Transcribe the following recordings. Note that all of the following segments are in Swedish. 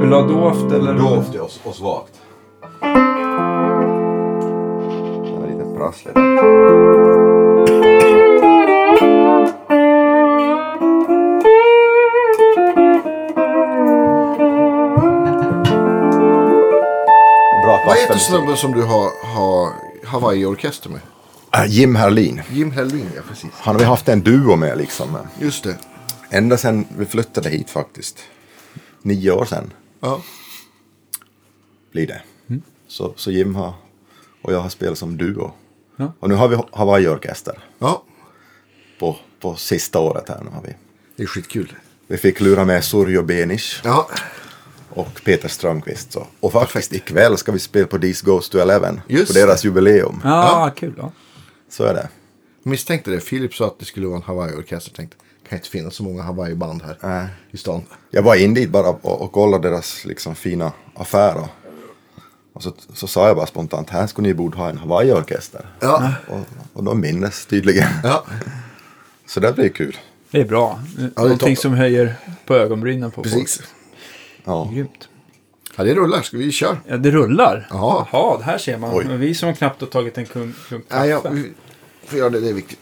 vill du ha doft eller? Dovt ja, och, och svagt. Det var lite prassligt. Bra Vad heter kaffe. snubben som du har, har Hawaii-orkester med? Ah, Jim Herlin. Jim Hellin, ja precis. Han har vi haft en duo med liksom. Just det. Ända sedan vi flyttade hit faktiskt. Nio år sedan Ja. blir det. Mm. Så, så Jim har, och jag har spelat som duo. Ja. Och nu har vi Hawaii-orkester ja. på, på sista året här. Nu har vi. Det är skitkul. vi fick lura med Surjo Benish Ja, och Peter Strömqvist. Så. Och faktiskt ikväll ska vi spela på These Goes to Eleven. Just på deras jubileum. Ja, kul. Ja. Så är det. misstänkte det. Filip sa att det skulle vara en Hawaii-orkester. Tänkte, det kan inte finnas så många Hawaii-band här i stan. Jag var in dit bara och, och kollade deras liksom, fina affär. Och, och så, så sa jag bara spontant, här skulle ni borde ha en Hawaii-orkester. Ja. Och, och de minnes tydligen. Ja. Så det blir kul. Det är bra. Någonting toppen. som höjer på ögonbrynen på Precis. folk. Ja. Grymt. Ja, det rullar. Ska vi köra? Ja, det rullar. Ja. Jaha, det här ser man. Oj. Men Vi som knappt har tagit en kung, kung kaffe. Nej, ja, vi får göra det. Det är viktigt.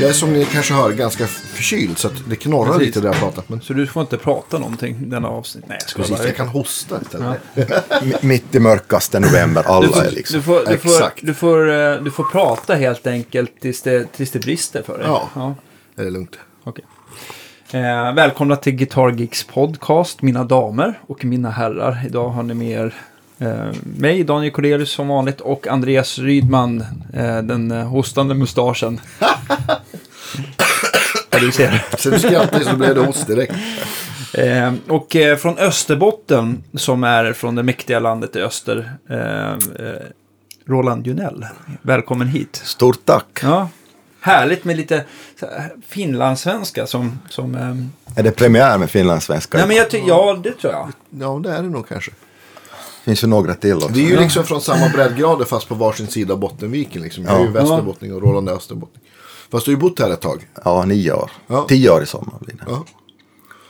Jag är som ni kanske hör ganska förkyld så att det knorrar Mm. Precis. lite där jag pratar. Men Så du får inte prata någonting denna avsnitt. Nej, jag skojar precis, bara. jag kan hosta istället. M- Mitt i mörkaste november, Du alla får, är liksom. du, får, du, Exakt. får, du, får, eh, du får prata helt enkelt tills det, tills det brister för dig. Ja. Är det lugnt? okej. eh, välkomna till Guitar Geeks podcast, mina damer och mina herrar. Idag har ni med er eh, mig, Daniel Cordelius som vanligt, och Andreas Rydman, eh, den eh, hostande mustaschen. ja, du ser. Så du skrattade så blev det host direkt. Eh, och eh, från Österbotten, som är från det mäktiga landet i öster, eh, eh, Roland Junell. Välkommen hit. Stort tack. Ja. Härligt med lite så här, finlandssvenska som... som ehm, Är det premiär med finlandssvenska? Nej, men jag ty- ja, det tror jag. Ja, det är det nog kanske. finns ju några till också. Vi är ju liksom från samma breddgrader fast på varsin sida av Bottenviken. Liksom. Jag är ju Ja. västerbottning och Roland är österbottning. Fast du har ju bott här ett tag. Ja, nio år. Ja. Tio år i sommar blir det. Ja.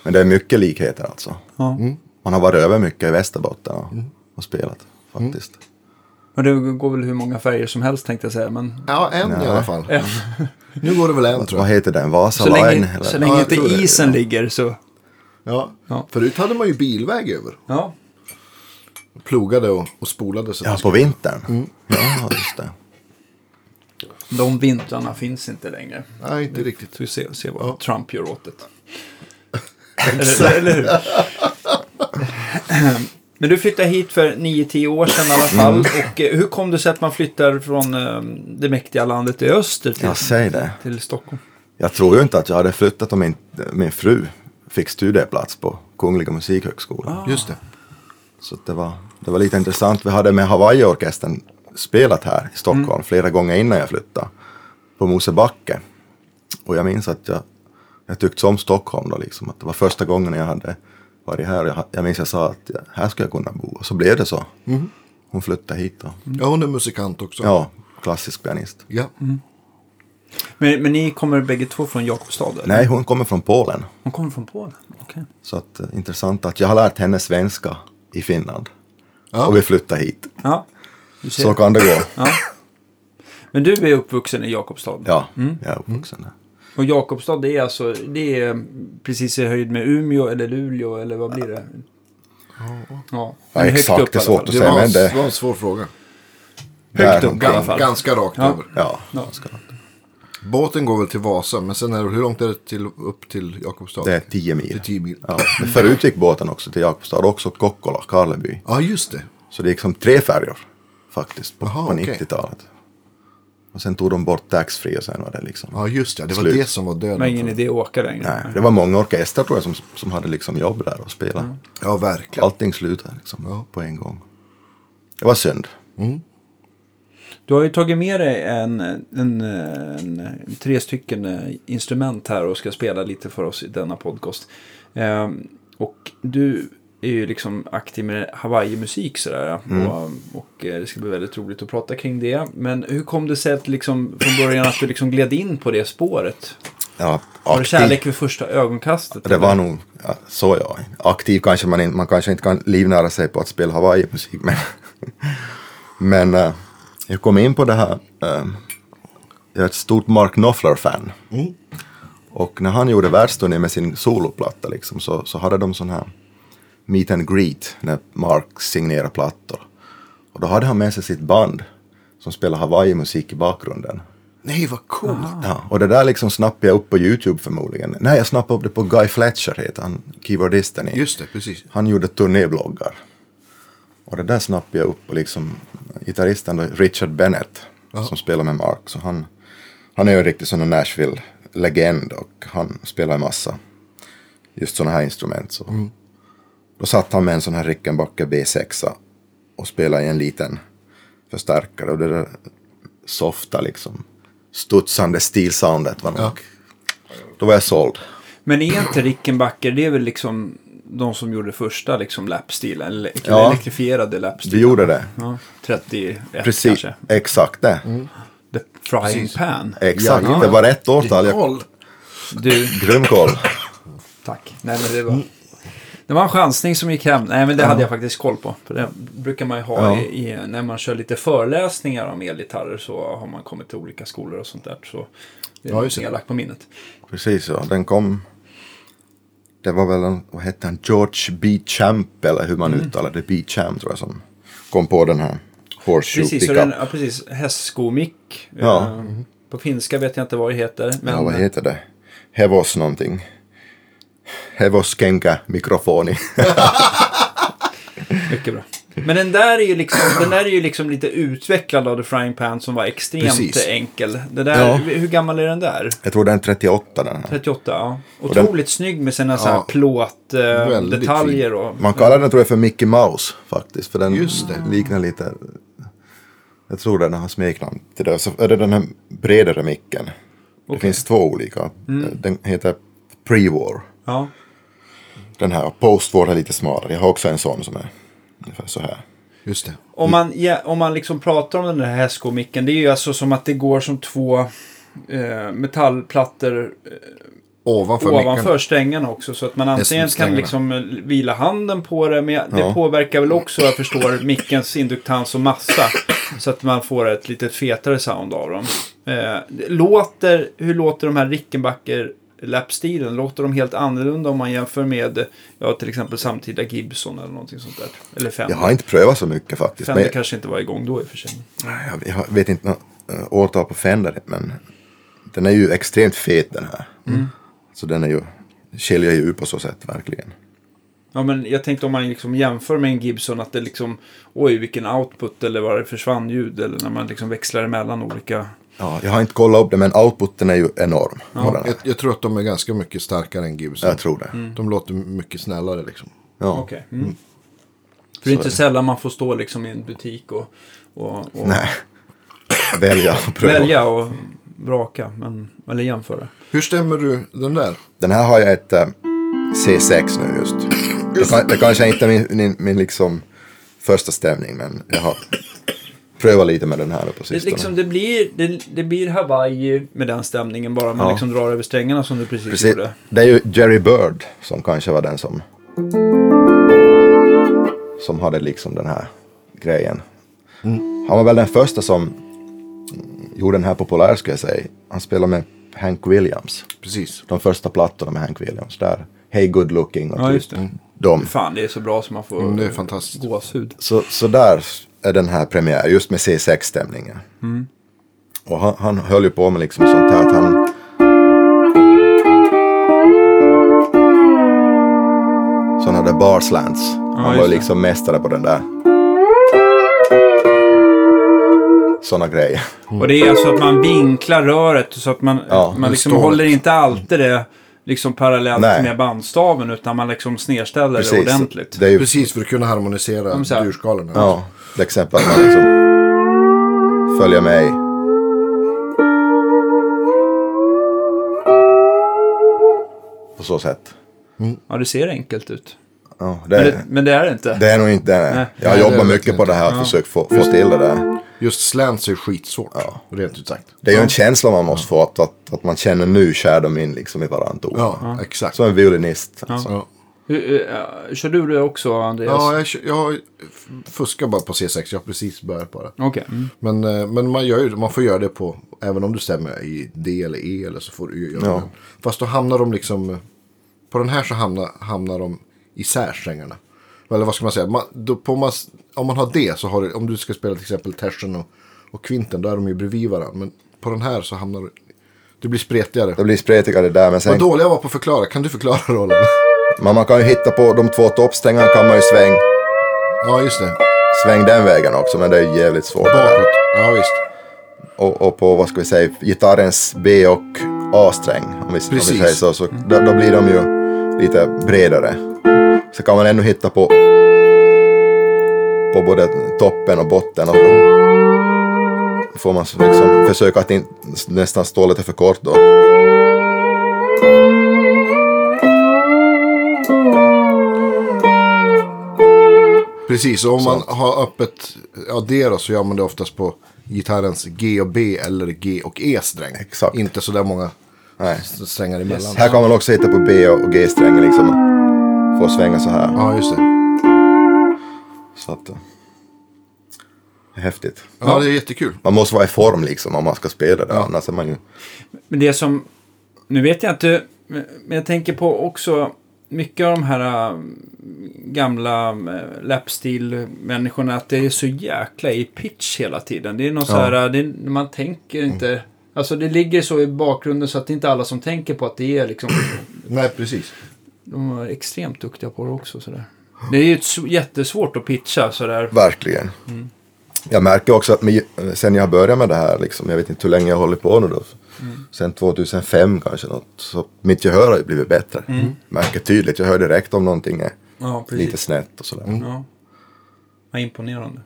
Men det är mycket likheter alltså. Ja. Man har varit över mycket i Västerbotten och, Mm. och spelat faktiskt. Men det går väl hur många färger som helst tänkte jag säga. Men Ja, en i alla fall. Nu går det väl en tror Vad jag. heter den? Vasa så Line? länge, eller? så Ja, länge jag inte tror det, isen ligger så... Ja. Ja. Förut hade man ju bilväg över. Ja. Plogade och, och spolade. Så Ja, på vintern. Mm. Ja, just det. De vintrarna finns inte längre. Nej, inte riktigt. Så vi ser, ser vad Ja. Trump gör åt det. eller, eller hur? Men du flyttade hit för 9-10 år sedan i alla fall. Och eh, hur kom det sig att man flyttar från eh, det mäktiga landet i öster till, Ja, säg det. till Stockholm? Jag tror ju inte att jag hade flyttat om min, min fru fick studieplats på Kungliga Ah. Musikhögskolan. Just det. Så att det, var, det var lite intressant. Vi hade med Hawaii-orkestern spelat här i Stockholm Mm. flera gånger innan jag flyttade. På Mosebacke. Och jag minns att jag, jag tyckte om Stockholm då liksom. Att det var första gången jag hade varit här. Och Jag, jag minns jag sa att ja, här skulle jag kunna bo. Och så blev det så. Mm. Hon flyttade hit då. Ja, hon är musikant också. Ja, Mm. klassisk pianist. Ja. Men, men ni kommer bägge två från Jakobstad? eller? Nej, hon kommer från Polen. Hon kommer från Polen? Okej. Så att, eh, intressant att jag har lärt henne svenska i Finland. Ja. Och vi flyttade hit. Ja, du ser. Så kan det gå. Ja. Men du är uppvuxen i Jakobstad? Ja, Mm. jag är uppvuxen där. Och Jakobstad det är alltså, det är precis i höjd med Umeå eller Luleå eller vad blir det? Ja, Ja, men högt exakt, upp i det är alla svårt fall. att Det säga, var, en, men det- det var en svår fråga. Högt Där upp i alla omkring. fall. Ganska rakt Ja. över. Ja, Ja. Båten går väl till Vasa, men sen är det, hur långt är det till, upp till Jakobstad? det är 10 Till mil. 10 mil. Ja, men förut gick båten också till Jakobstad, också till Kokkola, Karleby. Ja, just det. Så det gick som tre färjor faktiskt på, Jaha, på okej. 90-talet. Och sen tog de bort taxfree och sen var det liksom. Ja, just det. Det var Slut. det som var döden. Det var ingen för- idé att åka längre. Nej, det var många orkestrar tror jag som, som hade liksom jobb där och spelade. Ja, verkligen. Allting slutade liksom Ja. på en gång. Det var synd. Du har ju tagit med dig en, en, en, tre stycken eh, instrument här och ska spela lite för oss i denna podcast. Ehm, och du är ju liksom aktiv med Hawaii-musik sådär. eh, Mm. Och, och eh, det ska bli väldigt roligt att prata kring det. Men hur kom det sig att liksom, från början att du liksom gled in på det spåret? Ja, Var det aktiv. kärlek vid första ögonkastet? Det var nog ja, så ja. Aktiv kanske man inte, man kanske inte kan livnära sig på att spela Hawaii-musik men, men eh, jag kom in på det här. eh, jag är ett stort Mark Knopfler-fan. Och när han gjorde världsturné med sin soloplatta liksom, så, så hade de sån här meet and greet när Mark signerade plattor. Och då hade han med sig sitt band som spelar Hawaii-musik i bakgrunden. Nej, vad coolt. Ah. Ja, och det där liksom snappade jag upp på YouTube förmodligen. Nej, jag snappade upp det på Guy Fletcher, heter han, keyboardisten i. Just det, precis. Han gjorde turnébloggar. Och det där snappade jag upp och liksom gitarristen då, Richard Bennett som spelar med Mark. Så han, han är ju en riktig sån här Nashville-legend och han spelar en massa just såna här instrument. Så. Då satt han med en sån här Rickenbacker B6 och spelade i en liten förstärkare och det där softa liksom studsande stilsoundet var nog. Då var jag såld. Men är inte Rickenbacker, det är väl liksom de som gjorde första liksom lapstilen? Eller Ja. elektrifierade Vi lapstilen? gjorde det. Ja, 31 Precis, kanske. exakt det. The Frying Pan. Exakt, Ja, det var rätt årtal. Jag... Koll! Du, Grym koll. tack. Nej, men det var... Det var en chansning som gick hem. Nej, men det hade jag faktiskt koll på. För det brukar man ju ha Ja. i, i, när man kör lite föreläsningar om elgitarrer så har man kommit till olika skolor och sånt där. Så det är Ja, ja, just det. nedlagt på minnet. Precis, ja. Den kom... Det var väl, en, vad hette han, George B. Champ eller hur man uttalar det, B. Champ tror jag som kom på den här Horseshoe Precis, och Pickup. den, ja, precis. Hästskomick. Ja. Eh, På finska vet jag inte vad det heter. Men Ja, vad heter det? Hevos någonting. Hevoskenka mikrofoni. Mycket bra. Men den där är ju liksom, den där är ju liksom lite utvecklad av The Frying Pan som var extremt Precis. enkel. Det där, Ja. Hur gammal är den där? jag tror den är 38 den här. 38, ja. den- Otroligt snygg med sina så här Ja. Väldigt plåtdetaljer. och Man kallar den tror jag för Mickey Mouse faktiskt. För den Just det. liknar lite... Jag tror den har smeknamn till det. Så är det den här bredare micken. Det finns två olika. Mm. Eh, Den heter Pre-War. ja. Den här och Post-War är lite smalare. Jag har också en sån som är ungefär så här. Just det. Om man, ja, om man liksom pratar om den där hästskomicken, det är ju alltså som att det går som två eh, metallplattor Ovanför, ovanför mickarna. strängarna också. Så att man antingen kan strängarna. liksom eh, vila handen på det, men jag- det Ja. påverkar väl också, jag förstår, mickens induktans och massa. Så att man får ett lite fetare sound av dem. Eh, det låter, hur låter de här Rickenbacker Lapstilen, låter de helt annorlunda om man jämför med ja, till exempel samtida Gibson eller någonting sånt där? Eller Fender. Jag har inte prövat så mycket faktiskt. Fender Men jag, kanske inte var igång då i och för sig. jag- jag vet inte något eh, årtal på Fender. Men den är ju extremt fet den här. Mm. Så den är ju... Skiljer ju ut på så sätt verkligen. Ja, men jag tänkte om man liksom jämför med en Gibson att det liksom, oj vilken output eller var det försvann ljud eller när man liksom växlar emellan olika Ja, jag har inte kollat upp det men outputen är ju enorm. på den här. Jag, jag tror att de är ganska mycket starkare än Gibson. Jag tror det. De låter mycket snällare liksom. Ja. Mm. Okej. Mm. För det är inte sällan man får stå liksom i en butik och, och, och Nej. Välja och pröva. välja och vraka, men, eller jämföra. Hur stämmer du den där? Den här har jag ett eh, C6 nu just. Det, kan, det kanske inte är min, min, min liksom första stämning men jag har prövat lite med den här nu på Det, sistone. liksom, det, blir, det, det blir Hawaii med den stämningen bara man Ja. liksom drar över strängarna som du precis, Precis. gjorde. Det är ju Jerry Bird som kanske var den som som hade liksom den här grejen. Han var väl den första som mm, gjorde den här populär skulle jag säga. Han spelade med Hank Williams. Precis. de första plattorna med Hank Williams. Där, Hey Good Looking och Ja, typ just det. de. Fan, Mm, det är så bra som man får Mm, Det är fantastiskt. gåshud. Så, så där är den här premiär, just med C6-stämningen. Mm. Och han, han höll ju på med liksom sånt här att han... Sådana där barslants. han var just ju det. liksom mästare på den där. Sådana grejer. Och det är alltså att man vinklar röret så att man, Mm. Ja, man liksom stålet. håller inte alltid det liksom parallellt Nej. med bandstaven utan man liksom snedställer det Precis. ordentligt. Det är ju Precis för att kunna harmonisera så här. durskalorna. Ja, till exempel att man liksom följer med i. På så sätt. Ja, det ser enkelt ut. Ja, Men det, det, men det är det inte. det är nog inte det. Nej. Jag har Nej, det jobbat vet mycket jag på det här att Ja. försöka få, få till det där. Just slants är skitsvårt. Rent ut sagt. Det är ju en känsla man måste få, att, att, att man känner nu skär de in liksom i varandra ord. Ja, exakt. Som en violinist. Alltså. Ja. Hur- hur- äh, Kör du det också, Andreas? Ja, jag, kö- jag f- fuskar bara på C6. Jag har precis börjat bara. Okej. Mm. Men, eh, men man, gör ju, man får göra det på, även om du stämmer i D eller E eller så får du ju göra Ja. det. Fast då hamnar de liksom, på den här så hamnar, hamnar de isär strängarna. Eller vad ska man säga, man, då på mas, om man har D så har du, om du ska spela till exempel tersen och, och kvinten, då är de ju bredvid varandra. Men på den här så hamnar du, det blir spretigare. Det blir spretigare där, men Vad sen, dålig jag var på att förklara, kan du förklara rollen? men man kan ju hitta på de två toppstängarna kan man ju sväng, Ja, just det. sväng den vägen också, men det är ju jävligt svårt. det där. Bakåt. Ja, visst. och, och på vad ska vi säga, gitarrens B och A-sträng. Om vi, om vi Precis. säger så. så då, då blir de ju lite bredare. Så kan man ännu hitta på, på både toppen och botten. Och då får man så liksom försöka att in, nästan stå lite för kort då. Precis, och om man har öppet ja, det då, så gör man det oftast på gitarrens G och B eller G och E-sträng. Exakt. Inte så där många Nej. s- strängar emellan. Här kan man också hitta på B och G-strängen liksom. Få svänga så här. Ja, just det. Så att, det är häftigt. Ja, det är jättekul. Man måste vara i form liksom om man ska spela det. Annars är man ju... Men det som... Nu vet jag inte, men men jag tänker på också mycket av de här äh, gamla äh, läppstil-människorna att det är så jäkla i pitch hela tiden. Det är någon så här, äh, det, är- man tänker inte... Alltså det ligger så i bakgrunden så att det är inte alla som tänker på att det är liksom... Nej, precis. De var extremt duktiga på det också sådär. Det är ju ett s- jättesvårt att pitcha sådär. Verkligen. Jag märker också att med, sen jag började med det här, liksom, jag vet inte hur länge jag har hållit på nu då. Sen 2005 kanske något. Så mitt gehör har ju blivit bättre. Mm. Märker tydligt, jag hör direkt om någonting är Ja, lite snett och sådär. Mm. Ja. Vad imponerande.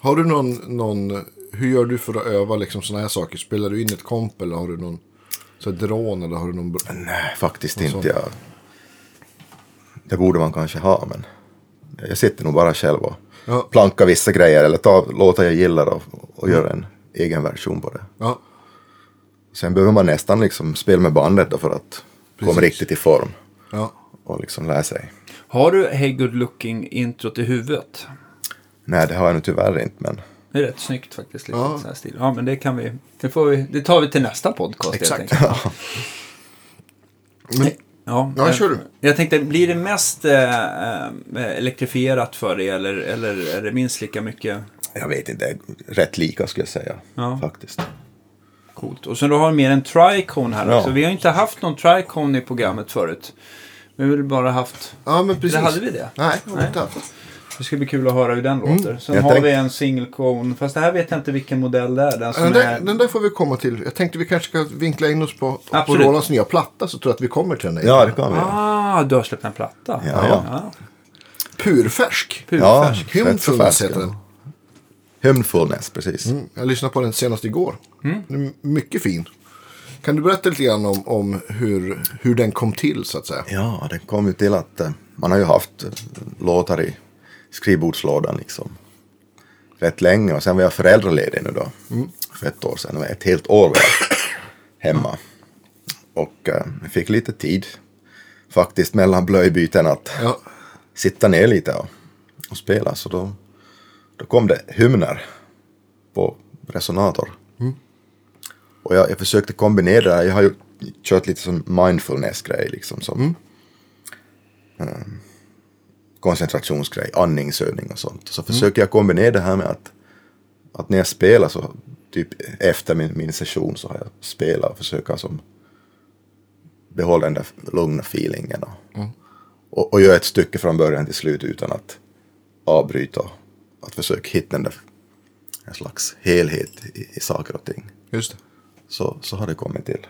Har du någon, någon, hur gör du för att öva liksom sådana här saker? Spelar du in ett komp eller har du någon så här, drån eller har du någon... br- Nej, eh, faktiskt sånt. inte. Jag, det borde man kanske ha, men jag sitter nog bara själv och Ja. plankar vissa grejer eller tar låtar jag gillar och, och gör Mm. en egen version på det. Ja, Sen behöver man nästan liksom spela med bandet då för att komma Precis. riktigt i form ja. och liksom lära sig. Har du Hey Good Looking introt i huvudet? Nej, det har jag nog tyvärr inte, men Det är rätt snyggt faktiskt. Lite Ja. ja. Här stil. ja, men det kan vi. Det, får vi, det tar vi till nästa podcast Exakt. helt enkelt. Men, Ja, Ja, eh, kör du. Jag tänkte, blir det mest eh, eh, elektrifierat för dig eller, eller är det minst lika mycket jag vet inte. det är Rätt lika skulle jag säga, Ja. faktiskt. Coolt. Och sen då har vi mer en tricone här Ja. också. Vi har ju inte haft någon tricone i programmet förut. Vi har väl bara haft... ja, men precis. Eller hade vi det? Nej, jag har inte haft. Det ska bli kul att höra hur den Mm, låter. Sen Jag har tänkte- vi en single cone. Fast det här vet jag inte vilken modell det är. Den som Den är... där, den där får vi komma till. Jag tänkte vi kanske ska vinkla in oss på, på Absolut. Rolands nya platta så tror jag att vi kommer till den. där. Ja, det kan vi göra. Ah, du har släppt en platta. Ja, ja. Purfärsk. Ja, Purfärsk. rätt så Hymnfullness färsk, heter den. ja. Hymnfullness, precis. Jag lyssnade på den senast igår. Den är mycket fin. Kan du berätta lite grann om, om hur, hur den kom till så att säga? Ja, den kom ju till att eh, man har ju haft eh, låtar i skrivbordslådan liksom rätt länge och sen var jag föräldraledig nu då för ett år sedan. Det var Ett helt år var jag hemma. Och eh, jag fick lite tid faktiskt mellan blöjbyten att Ja. sitta ner lite och, och spela. Så då, då kom det hymner på resonator. Och jag, jag försökte kombinera det här. Jag har ju kört lite sån mindfulness-grej liksom. Som, eh, koncentrationsgrej, andningsövning och sånt. Så försöker jag kombinera det här med att, att när jag spelar så typ efter min, min session så har jag spelat och försöker som behålla den där lugna feelingen. Och, och, och göra ett stycke från början till slut utan att avbryta. Att försöka hitta den där en slags helhet i, i saker och ting Just det. så, så har det kommit till.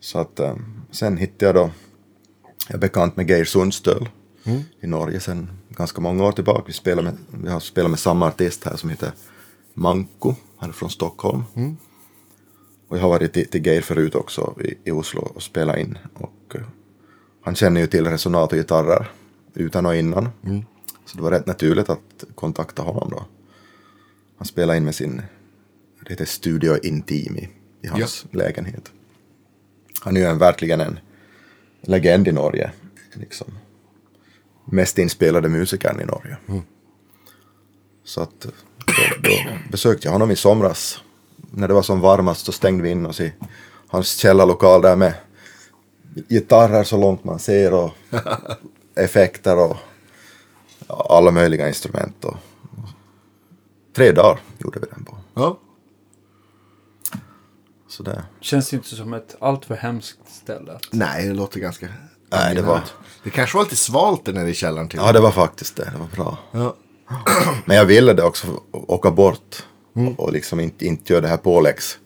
Så att eh, sen hittade jag då, jag är bekant med Geir Sundstöl i Norge sedan ganska många år tillbaka. Vi, spelar med, vi har spelat med samma artist här som heter Manko, han är från Stockholm. Och jag har varit till, till Geir förut också i, i Oslo och spelat in. Och eh, han känner ju till resonat och gitarrer utan och innan. Mm. Så det var rätt naturligt att kontakta honom då. Han spelade in med sin, det heter Studio Intim i, i hans lägenhet. Han är ju en, verkligen en legend i Norge. Liksom. Mest inspelade musikern i Norge. Så att då, då besökte jag honom i somras. När det var som varmast så stängde vi in oss i hans källarlokal där med gitarrer så långt man ser och effekter och ja, alla möjliga instrument. Och... Tre dagar gjorde vi den på. Ja. Så det... Känns det inte som ett alltför hemskt ställe? Nej, det låter ganska... Nej, det var- Det kanske var lite svalt där nere i källaren till. Ja, det var faktiskt det. Det var bra. Ja. Men jag ville det också, åka bort och liksom inte, inte göra det här påläggs,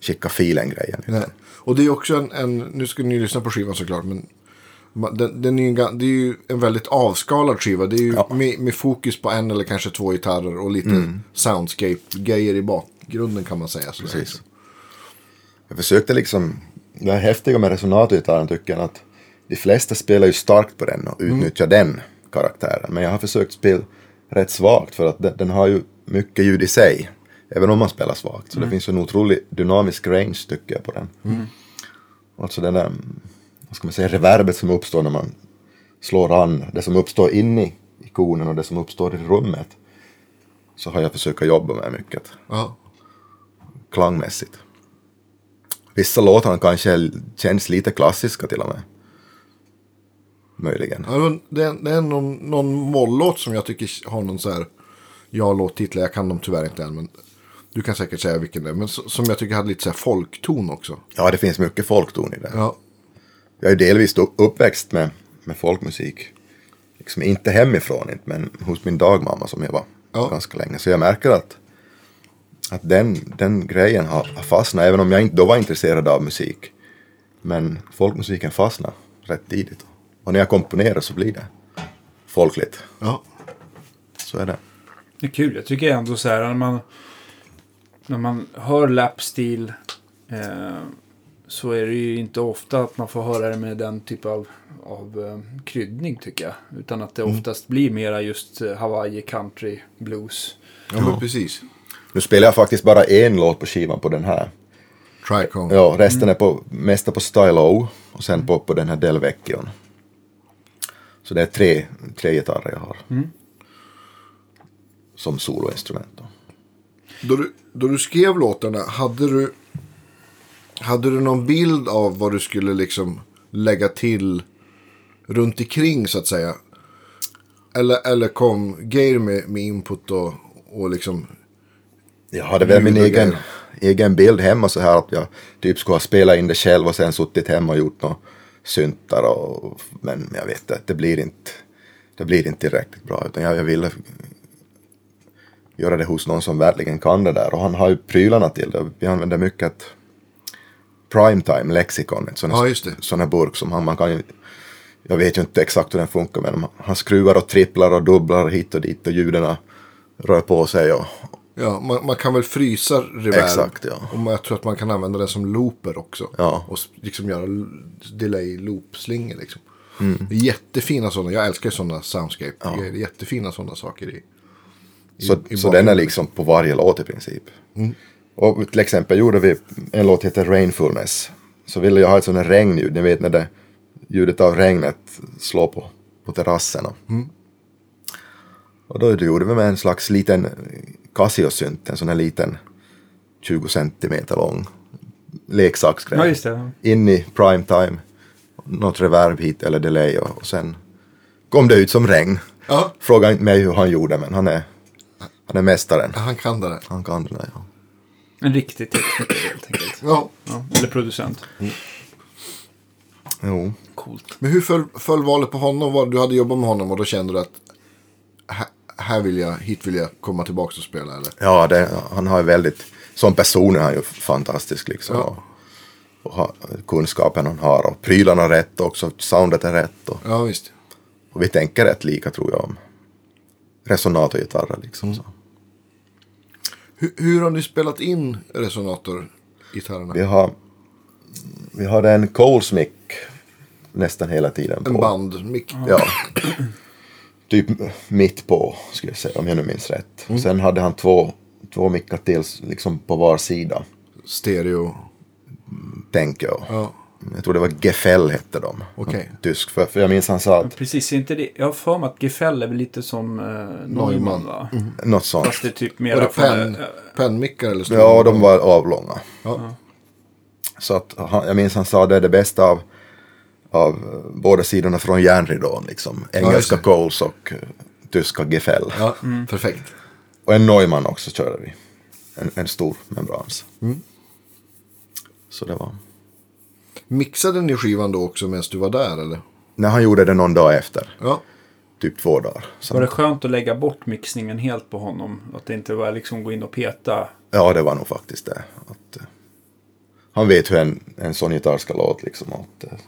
skicka filen-grejen. Nej. Och det är ju också en, en, nu ska ni lyssna på skivan såklart, men ma- den, den är ju en, ga- det är ju en väldigt avskalad skiva. Det är ju Ja. med, med fokus på en eller kanske två gitarrer och lite soundscape-grejer i bakgrunden kan man säga. Sådär. Precis. Jag försökte liksom, det här häftiga med resonatgitarren tycker jag att de flesta spelar ju starkt på den och utnyttjar den karaktären. Men jag har försökt spela rätt svagt för att den, den har ju mycket ljud i sig. Även om man spelar svagt. Så det finns en otrolig dynamisk range tycker jag på den. Alltså den där, vad ska man säga, reverbet som uppstår när man slår an. Det som uppstår inne i konen och det som uppstår i rummet. Så har jag försökt jobba med mycket Ja. klangmässigt. Vissa låtar kanske l- känns lite klassiska till och med. Möjligen. Ja, det var- Det är, det är någon, någon mollåt som jag tycker har någon så här ja-låttitlar. Jag kan dem tyvärr inte än, men du kan säkert säga vilken det är. Men s- som jag tycker hade lite så här folkton också. Ja, det finns mycket folkton i det. Ja. Jag är delvis upp- uppväxt med, med folkmusik. Liksom inte hemifrån, inte, men hos min dagmamma som jag var Ja. ganska länge. Så jag märker att, att den, den grejen har har fastnat, även om jag inte då var intresserad av musik. Men folkmusiken fastnade rätt tidigt. Och när jag komponerar så blir det folkligt. ja. Så är det. Det är kul. Jag tycker ändå så här när man, när man hör lapstil eh, så är det ju inte ofta att man får höra det med den typ av, av eh, kryddning tycker jag. Utan att det oftast blir mera just eh, Hawaii country blues. ja, men precis. Nu spelar jag faktiskt bara en låt på skivan på den här. Tricone. Ja, resten är på, mesta på Style O och sen på, på den här Del Vecchion. Så det är tre, tre gitarrer jag har. Som soloinstrument. Då. Då du, då du skrev låtarna, hade du, hade du någon bild av vad du skulle liksom lägga till runt omkring så att säga? Eller, eller kom Geir med, med input och, och liksom... Jag hade väl min Ljud och egen, grejer. egen bild hemma så här att jag typ skulle ha spelat in det själv och sen suttit hemma och gjort några syntar. Och, men jag vet att det blir inte, det blir inte tillräckligt bra. Utan jag, jag ville göra det hos någon som verkligen kan det där. Och han har ju prylarna till det. Vi använder mycket ett primetime lexikon. Ett sån Ja, just det. sån här burk som han, man kan ju, jag vet ju inte exakt hur den funkar men han skruvar och tripplar och dubblar hit och dit och ljuden rör på sig och, Ja, man, man kan väl frysa reverb. Exakt, ja. Och man, jag tror att man kan använda den som looper också. Ja. Och s- liksom göra l- delay loop-slingor liksom. Mm. Jättefina sådana. Jag älskar ju sådana soundscape-grejer. Jättefina sådana saker i... Så, i så den är bakgrunden. liksom på varje låt i princip. Och till exempel gjorde vi en låt heter Rainfulness. Så ville jag ha ett sånt här regnljud, ni vet när det ljudet av regnet slår på, på terrasserna. Och då gjorde vi med en slags liten Casio-synt, en sån här liten 20 centimeter lång leksaksgrej. Ja, just det. In i prime time, något reverb hit eller delay och, och sen kom det ut som regn. Ja, Fråga inte mig hur han gjorde, men han är, han är mästaren. han kan det där. Han kan det där, ja. En riktig tekniker helt enkelt. Ja. Ja, eller producent. Jo. Coolt. Men hur föll, föll valet på honom? Var, du hade jobbat med honom och då kände du att här, här vill jag, hit vill jag komma tillbaka och spela eller? Ja, det, han har ju väldigt... Som person är han ju fantastisk liksom. Ja. Och, och ha, kunskapen han har och prylarna är rätt också. Soundet är rätt och, Ja visst. och vi tänker rätt lika tror jag om resonat och gitarrer liksom. Så. Hur, hur har ni spelat in resonatorgitarrerna? Vi har, vi har en Colesmic nästan hela tiden. En på- bandmick. Ja. Typ mitt på, skulle jag säga, om jag nu minns rätt. Mm. Sen hade han två, två mickar till liksom på var sida, Stereo. tänker jag. Ja. Jag tror det var Gefäll hette de. Okej. Tysk. För, för jag minns han sa att, Precis, inte det. Jag har för mig att Gefäll är väl lite som eh, Neumann, Mm. Neumann. va? Mhm. något sånt. Fast det är typ Var mera... det från, penn, eh, pennmickar eller stora? Ja, de var avlånga. Ja. Så att han, jag minns han sa det är det bästa av, av eh, båda sidorna från järnridån. Liksom. just Engelska det. Coles och eh, tyska Gefäll. Ja, perfekt. Och en Neumann också körde vi. En, en stor med brams. Mm. Så det var. Mixade ni skivan då också medan du var där eller? När han gjorde det någon dag efter. Ja. Typ två dagar. Så, Var det skönt att lägga bort mixningen helt på honom? Att det inte var liksom gå in och peta? Ja, det var nog faktiskt det. Att, eh, han vet hur en, en sån gitarr ska låta liksom. Att, eh,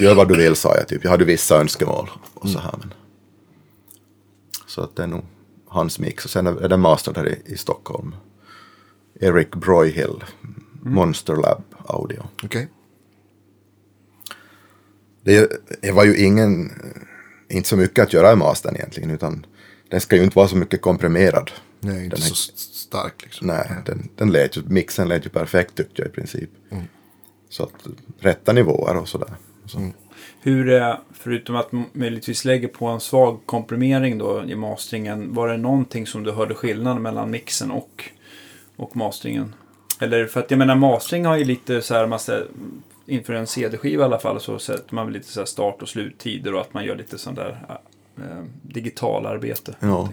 Gör vad du vill sa jag typ. Jag hade vissa önskemål. Och så här men. Så att det är nog hans mix. Och sen är är den mastered här i, i Stockholm. Eric Broyhill. Mm. Monster Lab Audio. Okej. Det, det var ju ingen, eh, inte så mycket att göra i mastern egentligen, utan den ska ju inte vara så mycket komprimerad. Nej, inte Den så är- s- stark liksom. Nej, den, den lät ju, mixen lät ju perfekt tyckte jag i princip. Så att rätta nivåer och sådär. Så, Hur, eh, förutom att m- möjligtvis lägger på en svag komprimering då i masteringen, var det någonting som du hörde skillnaden mellan mixen och, och masteringen? Eller för att jag menar mastering har ju lite så här, man ser, inför en CD-skiva i alla fall så sätter man väl lite så här start och sluttider och att man gör lite sån där eh, digitalarbete. Ja.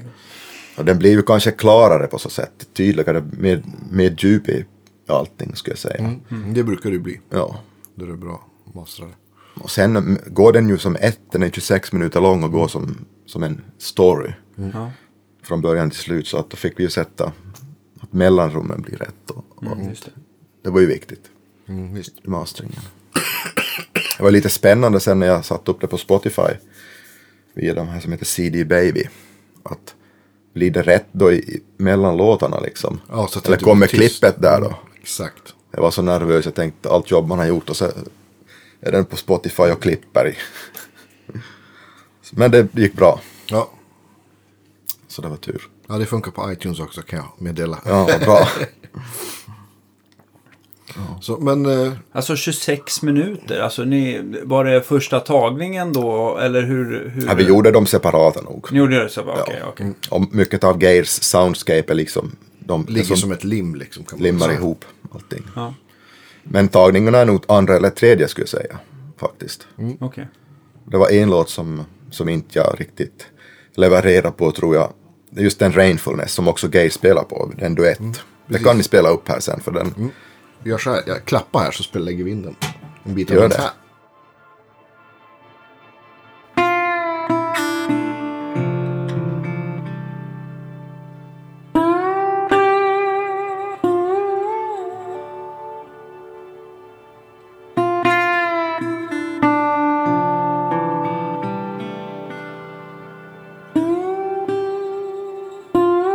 Och den blir ju kanske klarare på så sätt, tydligare, mer, mer djup i allting skulle jag säga. Mm. Det brukar det ju bli. Ja. Då är det bra mastrare. Och sen mm, går den ju som ett, den är 26 minuter lång och går som, som en story. Ja. från början till slut så att då fick vi ju sätta att mellanrummen blir rätt. Och, och Just det. Det var ju viktigt Mm, visst. i masteringen. Det var lite spännande sen när jag satte upp det på Spotify via de här som heter CD Baby. Att blir det rätt då i, i, mellan låtarna liksom? Ja, så att det Eller inte blir kommer tyst. klippet där då? Exakt. Jag var så nervös, jag tänkte allt jobb man har gjort och så är den på Spotify och klipper i. Men det gick bra, Ja. så det var tur. ja, det funkar på iTunes också kan jag meddela. Ja, vad bra. Så, men eh, Alltså 26 minuter, alltså ni, var det första tagningen då eller hur? hur Ja, vi gjorde dem separata nog. Ni gjorde det så? bara, Okej, okej. Och mycket av Geirs soundscape är liksom, de ligger liksom som ett lim liksom. Kan man limmar säga. ihop allting. Ja, Men tagningarna är nog andra eller tredje skulle jag säga, faktiskt. okej. Det var en låt som, som inte jag riktigt levererade på tror jag. Det är Just den Rainfulness som också Geir spelar på, den duett. det kan ni spela upp här sen för den. Vi gör så här, jag klappar här så spelar- lägger vi in den. En bit av Gör den det. här. Thank you.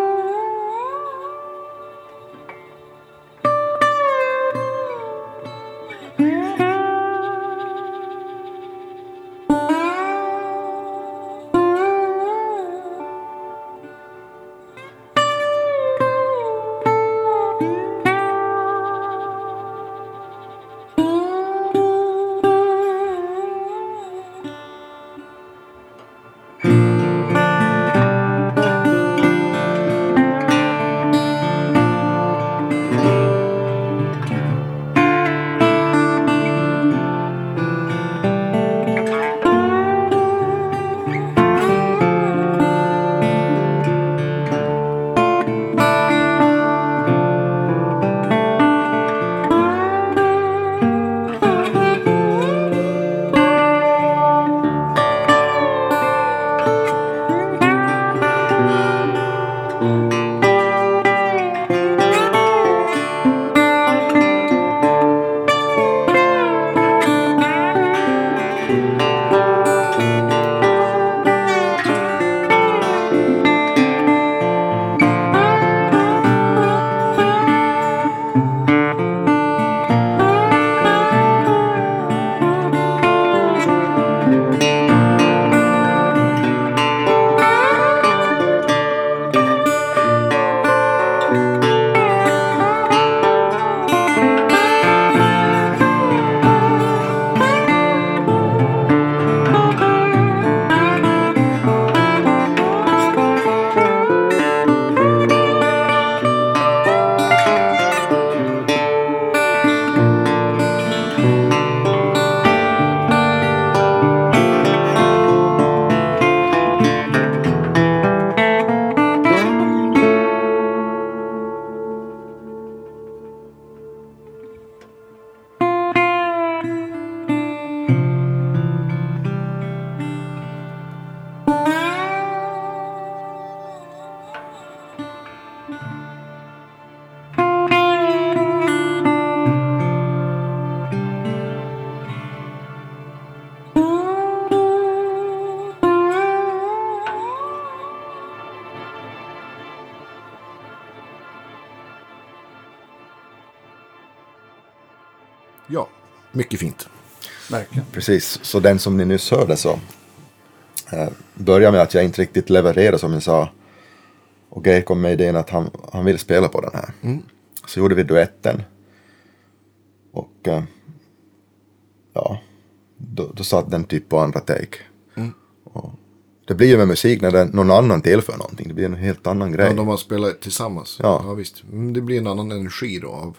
Mycket fint. Verkligen. Precis, så den som ni nyss hörde så eh, börjar med att jag inte riktigt levererade som jag sa. Och Geir kom med idén att han, han ville spela på den här. Så gjorde vi duetten. Och eh, ja, då, då satt den typ på andra take. Och det blir ju med musik när den, någon annan tillför någonting. Det blir en helt annan grej. Ja, de har spelat tillsammans. Ja. visst. Mm, det blir en annan energi då. Av...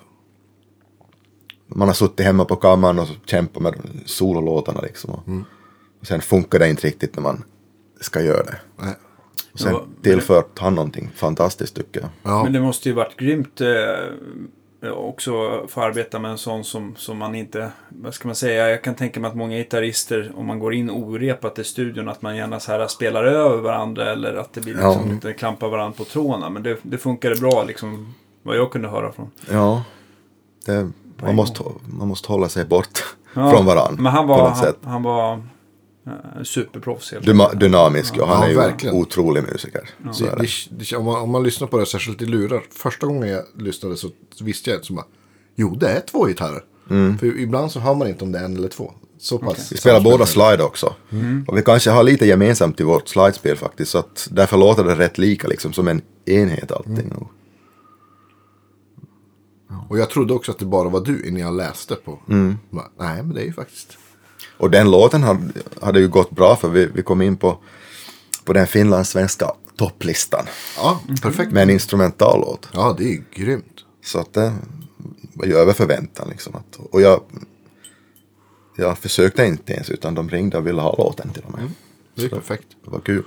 man har suttit hemma på kammaren och kämpat med sololåtarna liksom. Och, och sen funkar det inte riktigt när man ska göra det. Nej. Och sen Ja, men- tillfört han någonting fantastiskt tycker jag. Ja. Men det måste ju varit grymt eh, också att få arbeta med en sån som, som man inte, vad ska man säga, jag kan tänka mig att många gitarrister, om man går in orepat i studion, att man gärna så här spelar över varandra eller att det blir Ja. liksom lite klampar varandra på trådarna. Men det, det funkade bra liksom, vad jag kunde höra från. Ja, det, man, en måste, man måste hålla sig bort Ja, från varandra. Men han på var, något han, sätt. han var eh, superproffs helt Dyma, dynamisk och han Ja, är ju verkligen. en otrolig musiker. Så är Det, det. det, det, om, man, om man lyssnar på det, särskilt i lurar. Första gången jag lyssnade så visste jag inte. Så bara, jo, det är två gitarrer. För ibland så hör man inte om det är en eller två. Så pass. Mm. Vi spelar båda slide också. Mm. Och vi kanske har lite gemensamt i vårt slidespel faktiskt. Så att därför låter det rätt lika liksom, som en enhet allting. Mm. Och- Och jag trodde också att det bara var du innan jag läste på. Mm. Bara, Nej, men det är ju faktiskt. Och den låten hade, hade ju gått bra för vi, vi kom in på, på den finlandssvenska topplistan Ja, perfekt. med en instrumental låt. Ja, det är ju grymt. Så att det var ju över förväntan liksom. Att, och jag, jag försökte inte ens utan de ringde och ville ha låten till och med. Det är perfekt. Det var kul.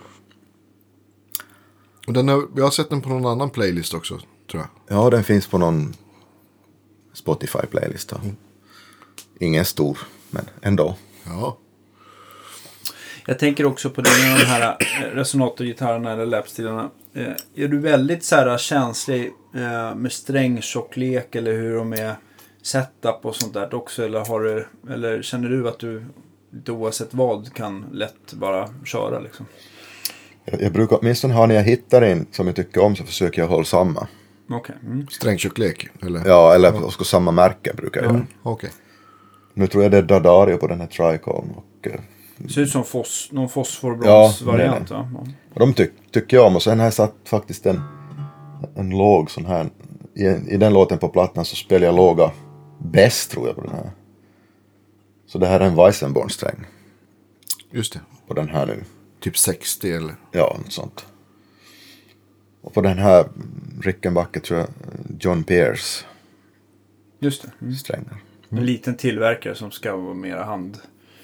Och den har, jag har sett den på någon annan playlist också, tror jag. Ja, den finns på någon Spotify-playlist. då. Ingen stor, men ändå. Ja, Jag tänker också på det med de här eh, resonatorgitarrerna eller lapstilarna. Eh, Är du väldigt så här, känslig eh, med strängtjocklek eller hur de är setup och sånt där också? Eller, har du, eller känner du att du lite oavsett vad kan lätt bara köra liksom? Jag, jag brukar åtminstone ha när jag hittar en som jag tycker om så försöker jag hålla samma. Okej. Mm. strängtjocklek. Eller? Ja, eller ska samma märke brukar jag Ja. göra. Okej. Nu tror jag det är Dadario på den här Tricon. Och, eh, Det ser ut som fos, någon Ja, fosforbrons-variant. det va? Ja. och de tyck, tycker jag om. Och sen har jag satt faktiskt en, en låg sån här. I, I den låten på plattan så spelar jag låga bäst tror jag på den här. Så det här är en Weissenborn-sträng Just det. på den här nu. Typ 60 eller? Ja, något sånt. Och på den här Rickenbacker tror jag John Pierce Just det. Mm. strängar. En liten tillverkare som ska vara mera hand...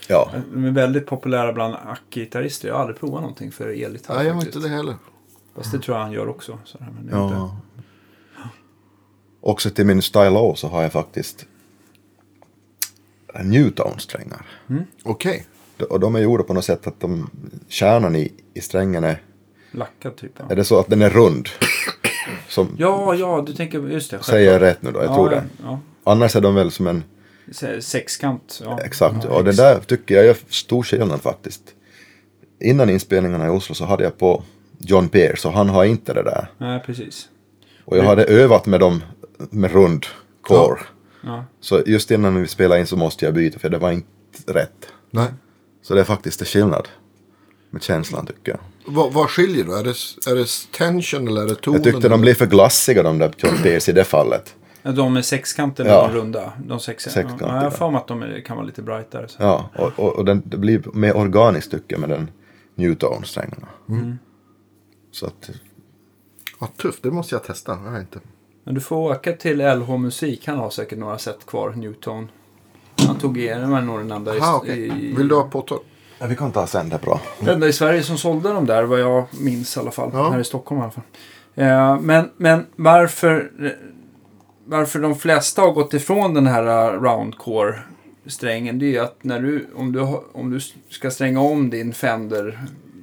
Ja, De är väldigt populära bland ackgitarrister. Jag har aldrig provat någonting för elgitarr Nej, jag var faktiskt. inte det heller. Fast det tror jag han gör också. Så här, men det är inte... Ja. Också till min Style O så har jag faktiskt Newton-strängar. Okej. D- Och de är gjorda på något sätt att de, kärnan i, i strängen är, Lackad typ. Ja. är det så att den är rund? Som, ja, ja, du tänker, just det. säger jag rätt nu då, jag ja, tror ja, det. Ja, Annars är de väl som en, Se- sexkant. Ja. exakt, och det där tycker jag är stor skillnad faktiskt. Innan inspelningarna i Oslo så hade jag på John Pierce och han har inte det där. Nej, precis. Och jag hade övat med dem med rund core. Ja. Så just innan vi spelade in så måste jag byta för det var inte rätt. Nej. Så det är faktiskt en skillnad med känslan tycker jag. Vad, vad skiljer då? Är det, är det tension eller är det tonen? Jag tyckte de blev för glassiga de där John Pierce i det fallet. De med sexkanter eller Ja. de runda. De sex... Sexkanter, ja, jag har ja. för mig att de är, kan vara lite brightare. Så. Ja, och, och, och den, det blir mer organiskt tycker jag med den Newton-strängarna. Mm. Så att, Ja, tufft. Det måste jag testa. Jag har inte. Men du får åka till LH Musik. Han har säkert några set kvar, Newton. Han tog igenom nog den enda i, Aha, okej. i, Vill du ha påtår? ja, vi kan ta sen det är bra. Den enda i Sverige som sålde dem där, vad jag minns i alla fall. Ja. Här i Stockholm i alla fall. Eh, men, men varför, varför de flesta har gått ifrån den här eh, roundcore-strängen, det är ju att när du, om, du, har- om du ska stränga om din Fender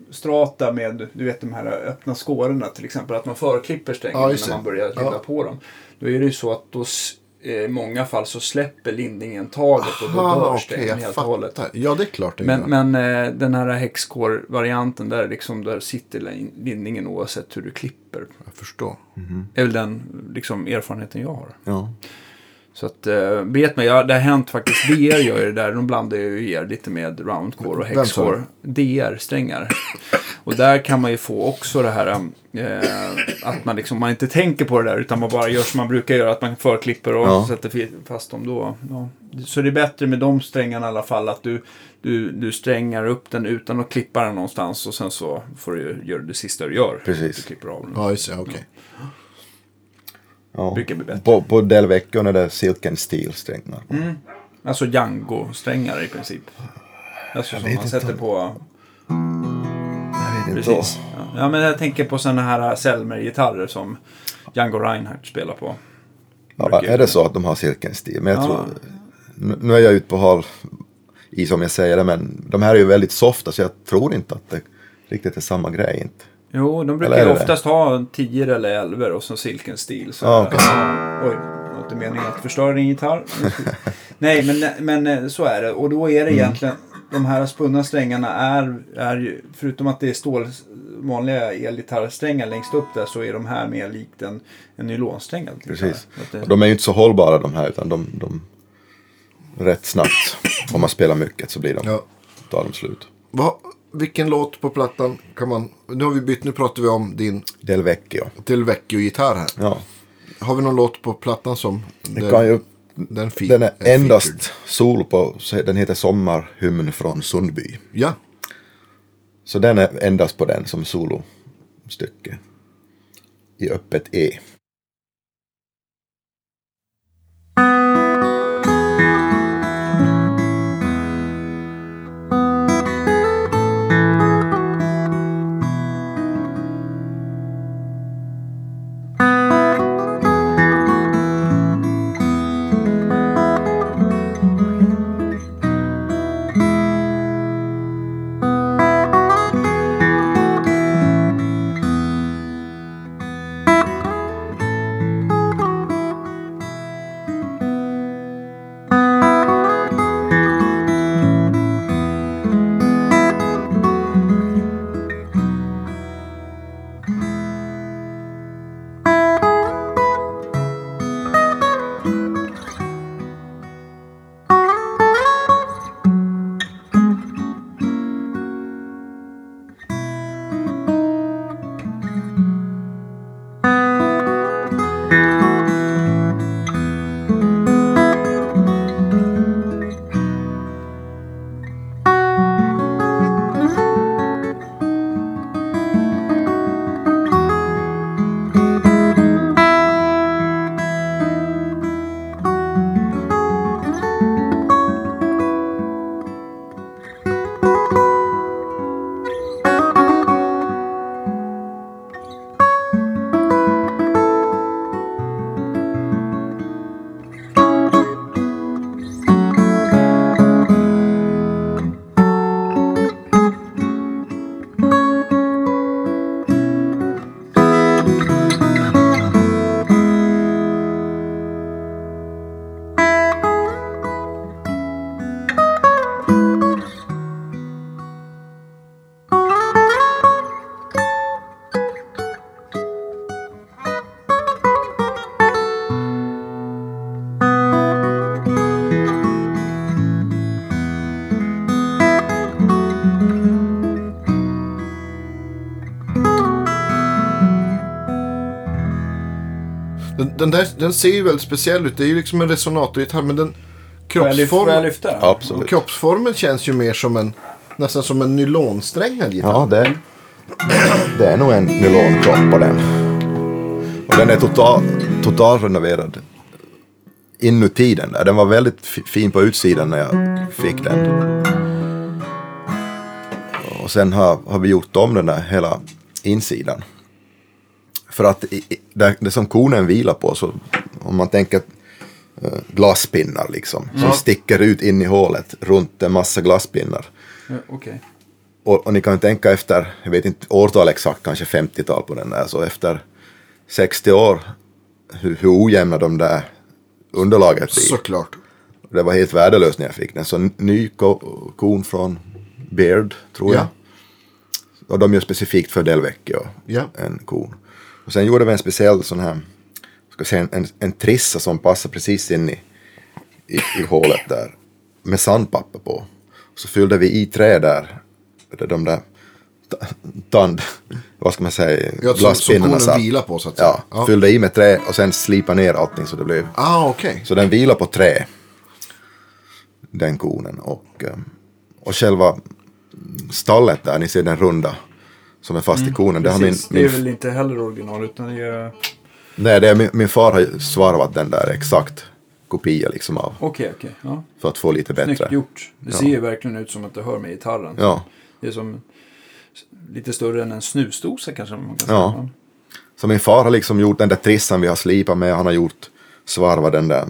strata med du vet de här öppna skårorna till exempel att man förklipper Ja, strängen just när man det. börjar lilla Ja. på dem. Då är det ju så att då, s- eh, i många fall så släpper lindningen taget och då dör strängen helt och hållet. Ja, det är klart. Det Men, gör. men eh, den här häxkår-varianten där, liksom, där sitter lin- lindningen oavsett hur du klipper. Jag förstår. Mm-hmm. Det är väl den liksom, erfarenheten jag har. Ja. Så att, eh, bet mig, ja, det har hänt faktiskt. DR gör ju det där. De blandar ju er lite med roundcore och Vem sa hexcore. DR-strängar. Och där kan man ju få också det här eh, att man liksom man inte tänker på det där utan man bara gör som man brukar göra. Att man förklipper och Ja. sätter fi- fast dem då. Ja. Så det är bättre med de strängarna i alla fall att du, du, du strängar upp den utan att klippa den någonstans och sen så får du göra det sista du gör. Precis. Du klipper av den. Ja, just det. ja, Okej. Ja. Brukar bli bättre. På, på Del Vecchio är det Silk and Steel-strängar. Alltså Django-strängar i princip. Alltså som vet man inte sätter om- på... Jag vet inte. Precis. Ja. ja, men jag tänker på sådana här äh, Selmer-gitarrer som Django Reinhardt spelar på. Ja, Brukar- är det så att de har Silk and Steel? Men jag Ja. tror, nu nu är jag ute på hal i som jag säger det, men de här är ju väldigt softa så jag tror inte att det riktigt är samma grej. Inte. Jo, de brukar Eller är ju det oftast ha 10 eller 11 och så silken stil. Så Ja, okej. Oj, det var inte meningen att förstöra din gitarr. Nej, men, men eh, så är det. Och då Mm. är det egentligen, de här spunna strängarna är, är ju, förutom att det är stål, vanliga elgitarrsträngar längst upp där så är de här mer likt en, en nylonsträng. eller gitarr. Precis. Så att det- Och de är ju inte så hållbara de här utan de, de rätt snabbt, om man spelar mycket så blir de, Ja. tar de slut. Va, vilken låt på plattan kan man... Nu har vi bytt, nu pratar vi om din Del Vecchio. Del Vecchio-gitarr här. Ja. Har vi någon låt på plattan som... Det kan ju, den, fi- den är featured? endast solo på, så den heter Sommarhymn från Sundby. Ja, Så den är endast på den som solostycke. I öppet E. den, den, där, den ser ju väldigt speciell ut. Det är ju liksom en resonatorgitarr men den... Får jag lyf- får jag Kroppsformen, lyfta den? Absolut. kroppsformen känns ju mer som en... Nästan som en nylonsträngad gitarr. Ja, det är, det är nog en nylonkropp på den. Och den är total, totalrenoverad inuti den där. Den var väldigt fi- fin på utsidan när jag fick den. Och sen har, har vi gjort om den där hela insidan. För att i, i, där, det som konen vilar på, så om man tänker eh, glasspinnar liksom. Som sticker ut in i hålet runt en massa glasspinnar. Ja, Eh, Okej. Och, och ni kan ju tänka efter, jag vet inte årtal exakt, kanske 50-tal på den där, så efter 60 år, hur, hur ojämna de där underlaget blir. Såklart. Det var helt värdelöst när jag fick den. Så n- ny ko- kon från Beard, tror jag. Ja. Och de gör specifikt för Del Vecchio, Ja. en kon. Och sen gjorde vi en speciell sån här ska säga, en, en, en trissa som passar precis in i, i, i hålet där. Med sandpapper på. Så fyllde vi i trä där. där De där ta- tand... Vad ska man säga? Ja, som- som glasspinnarna konen satt. vilar på, så att säga. Ja, Ja. fyllde i med trä och sen slipa ner allting så det blev... Ah, okej. Så den vilar på trä. Den konen. Och, eh, och själva stallet där, ni ser den runda. Som är fast i konen. Det har min, Mm. Precis, det min är väl inte heller original utan det är... Nej, det är min, min far har ju svarvat den där exakt kopia liksom av. Okej, okej. ja. För att få lite Snyggt bättre. gjort. Det ser ju verkligen ut som att det hör med gitarren. Ja, Det är som lite större än en snusdosa kanske man kan säga. Ja. va? så min far har liksom gjort den där trissan vi har slipat med. Han har gjort svarvat den där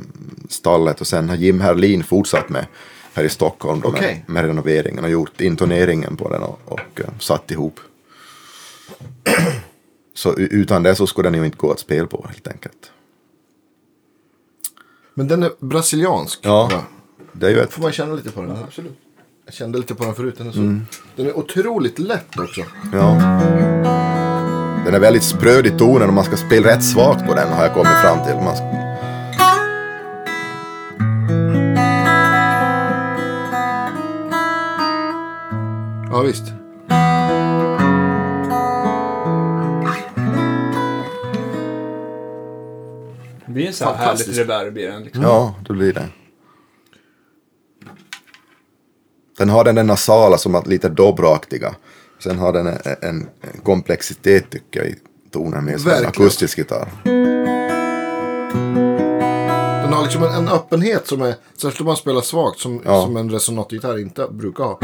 stallet och sen har Jim Herlin fortsatt med här i Stockholm då Okej. med, med renoveringen och gjort intoneringen på den och, och eh, satt ihop. Så u- utan det så skulle den ju inte gå att spela på helt enkelt. Men den är brasiliansk. Ja, va? det är ju ett, Får man känna lite på den? absolut. Jag kände lite på den förut. Den är, så... Mm. den är otroligt lätt också. ja. Den är väldigt spröd i tonen och man ska spela rätt svagt på den har jag kommit fram till. Man ska, Ja, visst. Det blir en så här Fantastiskt. härligt reverb i den. Liksom. Ja, det blir det. Den har den där nasala som är lite dobraktiga. Sen har den en, en komplexitet tycker jag i tonen med som en Verkligen. akustisk gitarr. Den har liksom en, en öppenhet som är, särskilt om man spelar svagt, som, Ja. som en resonatgitarr inte brukar ha.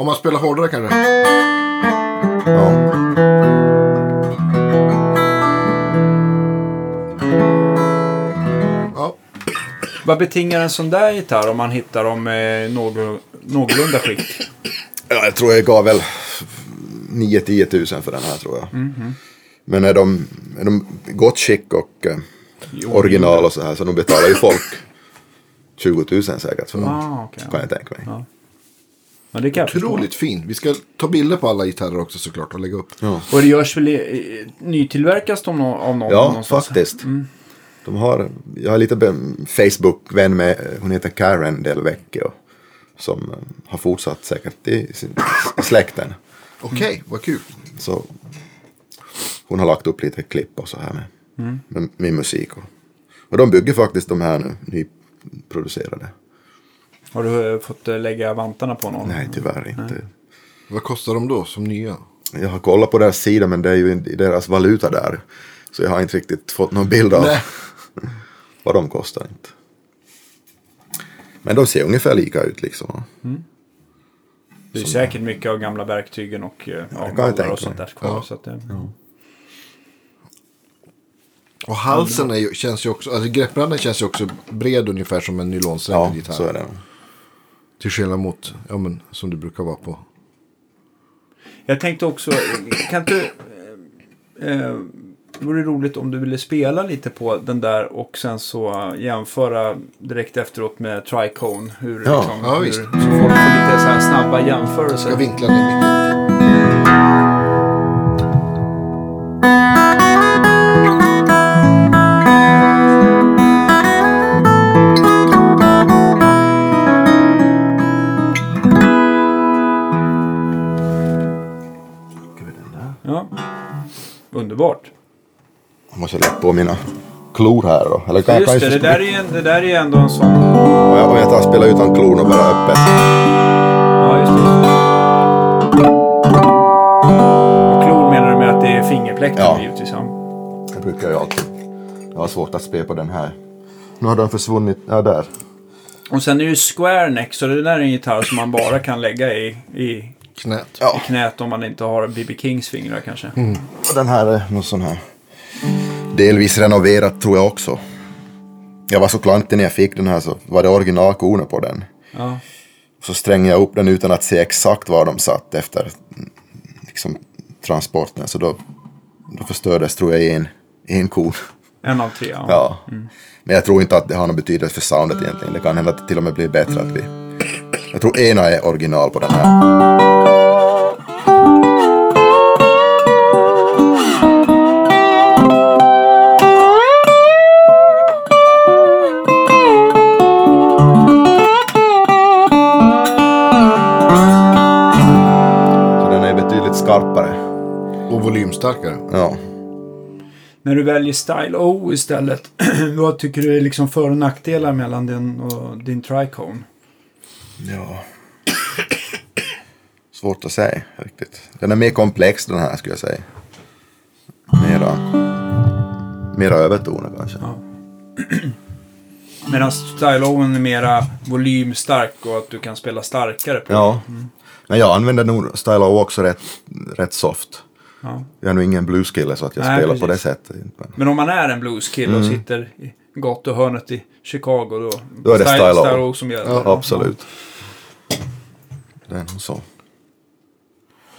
Om man spelar hårdare kanske. Ja. Ja. Vad betingar en sån där gitarr om man hittar dem i någor, någorlunda skick? ja, jag tror jag gav väl 9-10 tusen för den här tror jag. Mhm. Men är de är de i gott skick och eh, original och så här så de betalar ju folk 20 000 säkert för dem. Ah, okej, ja. Kan jag tänka mig. Men det kan jag förstå. Otroligt fin. Vi ska ta bilder på alla gitarrer också såklart och lägga upp. Mm. Och det görs väl i, i, nytillverkas de nå- av någon? Ja, någonstans? faktiskt. De har, jag har lite be- Facebook-vän med, hon heter Karen Del Vecchio. Som eh, har fortsatt säkert i, sin, i släkten. Okej, vad kul. Så hon har lagt upp lite klipp och så här med, med min musik. Och, och de bygger faktiskt de här nu, nyproducerade. Har du eh, fått eh, lägga vantarna på någon? Nej, tyvärr inte. Vad kostar de då som nya? Jag har kollat på deras sida men det är ju i deras valuta där. Så jag har inte riktigt fått någon bild av Nej. vad de kostar. inte. Men de ser ungefär lika ut liksom. Det är säkert mycket av gamla verktygen och eh, ja, jag mallar tänka och sånt där mig. kvar. Ja. Så att, eh, Och halsen är ju, känns ju också, alltså greppbranden känns ju också bred ungefär som en nylonsträng Ja, på gitarr. så är det. Till skillnad mot, ja men som det brukar vara på. Jag tänkte också, kan inte... eh, eh, Det vore roligt om du ville spela lite på den där och sen så jämföra direkt efteråt med Tricone. Hur, Ja, liksom, ja, hur, visst. så folk får lite så här snabba Jag jämförelser. vinklar ner micken. Ja. Underbart. Jag måste lägga på mina klor här då. Eller kan, Just kan det, jag, det just, där är ju en- det där är ju ändå en sån... om jag, om jag tar spela utan klorna bara öppet. Ja, just det. Och klor menar du med att det är fingerpläkten Ja. givetvis? Ja. Det brukar jag alltid. Jag har svårt att spela på den här. Nu har den försvunnit. Ja, där. Och sen är det ju square neck, så det där är en gitarr som man bara kan lägga i, i Knät. i knät om man inte har BB Kings fingrar kanske. Och den här är någon sån här. Delvis renoverad tror jag också. Jag var så klantig när jag fick den här så var det originalkorna på den. Ja. Så strängde jag upp den utan att se exakt var de satt efter mm, liksom, transporten. Så då, då förstördes tror jag en, en kon. En av tre. Ja. Ja. Men jag tror inte att det har någon betydelse för soundet egentligen. Det kan hända att det till och med blir bättre att vi... Jag tror ena är original på den här. skarpare. Och volymstarkare. Ja. När du väljer Style O istället, vad tycker du är liksom för och nackdelar mellan den och din Tricone? ja. Svårt att säga riktigt. Den är mer komplex den här skulle jag säga. Mera, mera övertoner kanske. Medan Style O är mera volymstark och att du kan spela starkare på. Ja. Men jag använder nog Style O också rätt, rätt soft. Ja. Jag är nog ingen blueskille så att jag Nej, spelar på det precis. sättet. Men- Men om man är en blueskille och sitter i gatuhörnet i Chicago då, Mm. Då är det Style O. Style O som gäller. Ja, absolut. Det är nog så.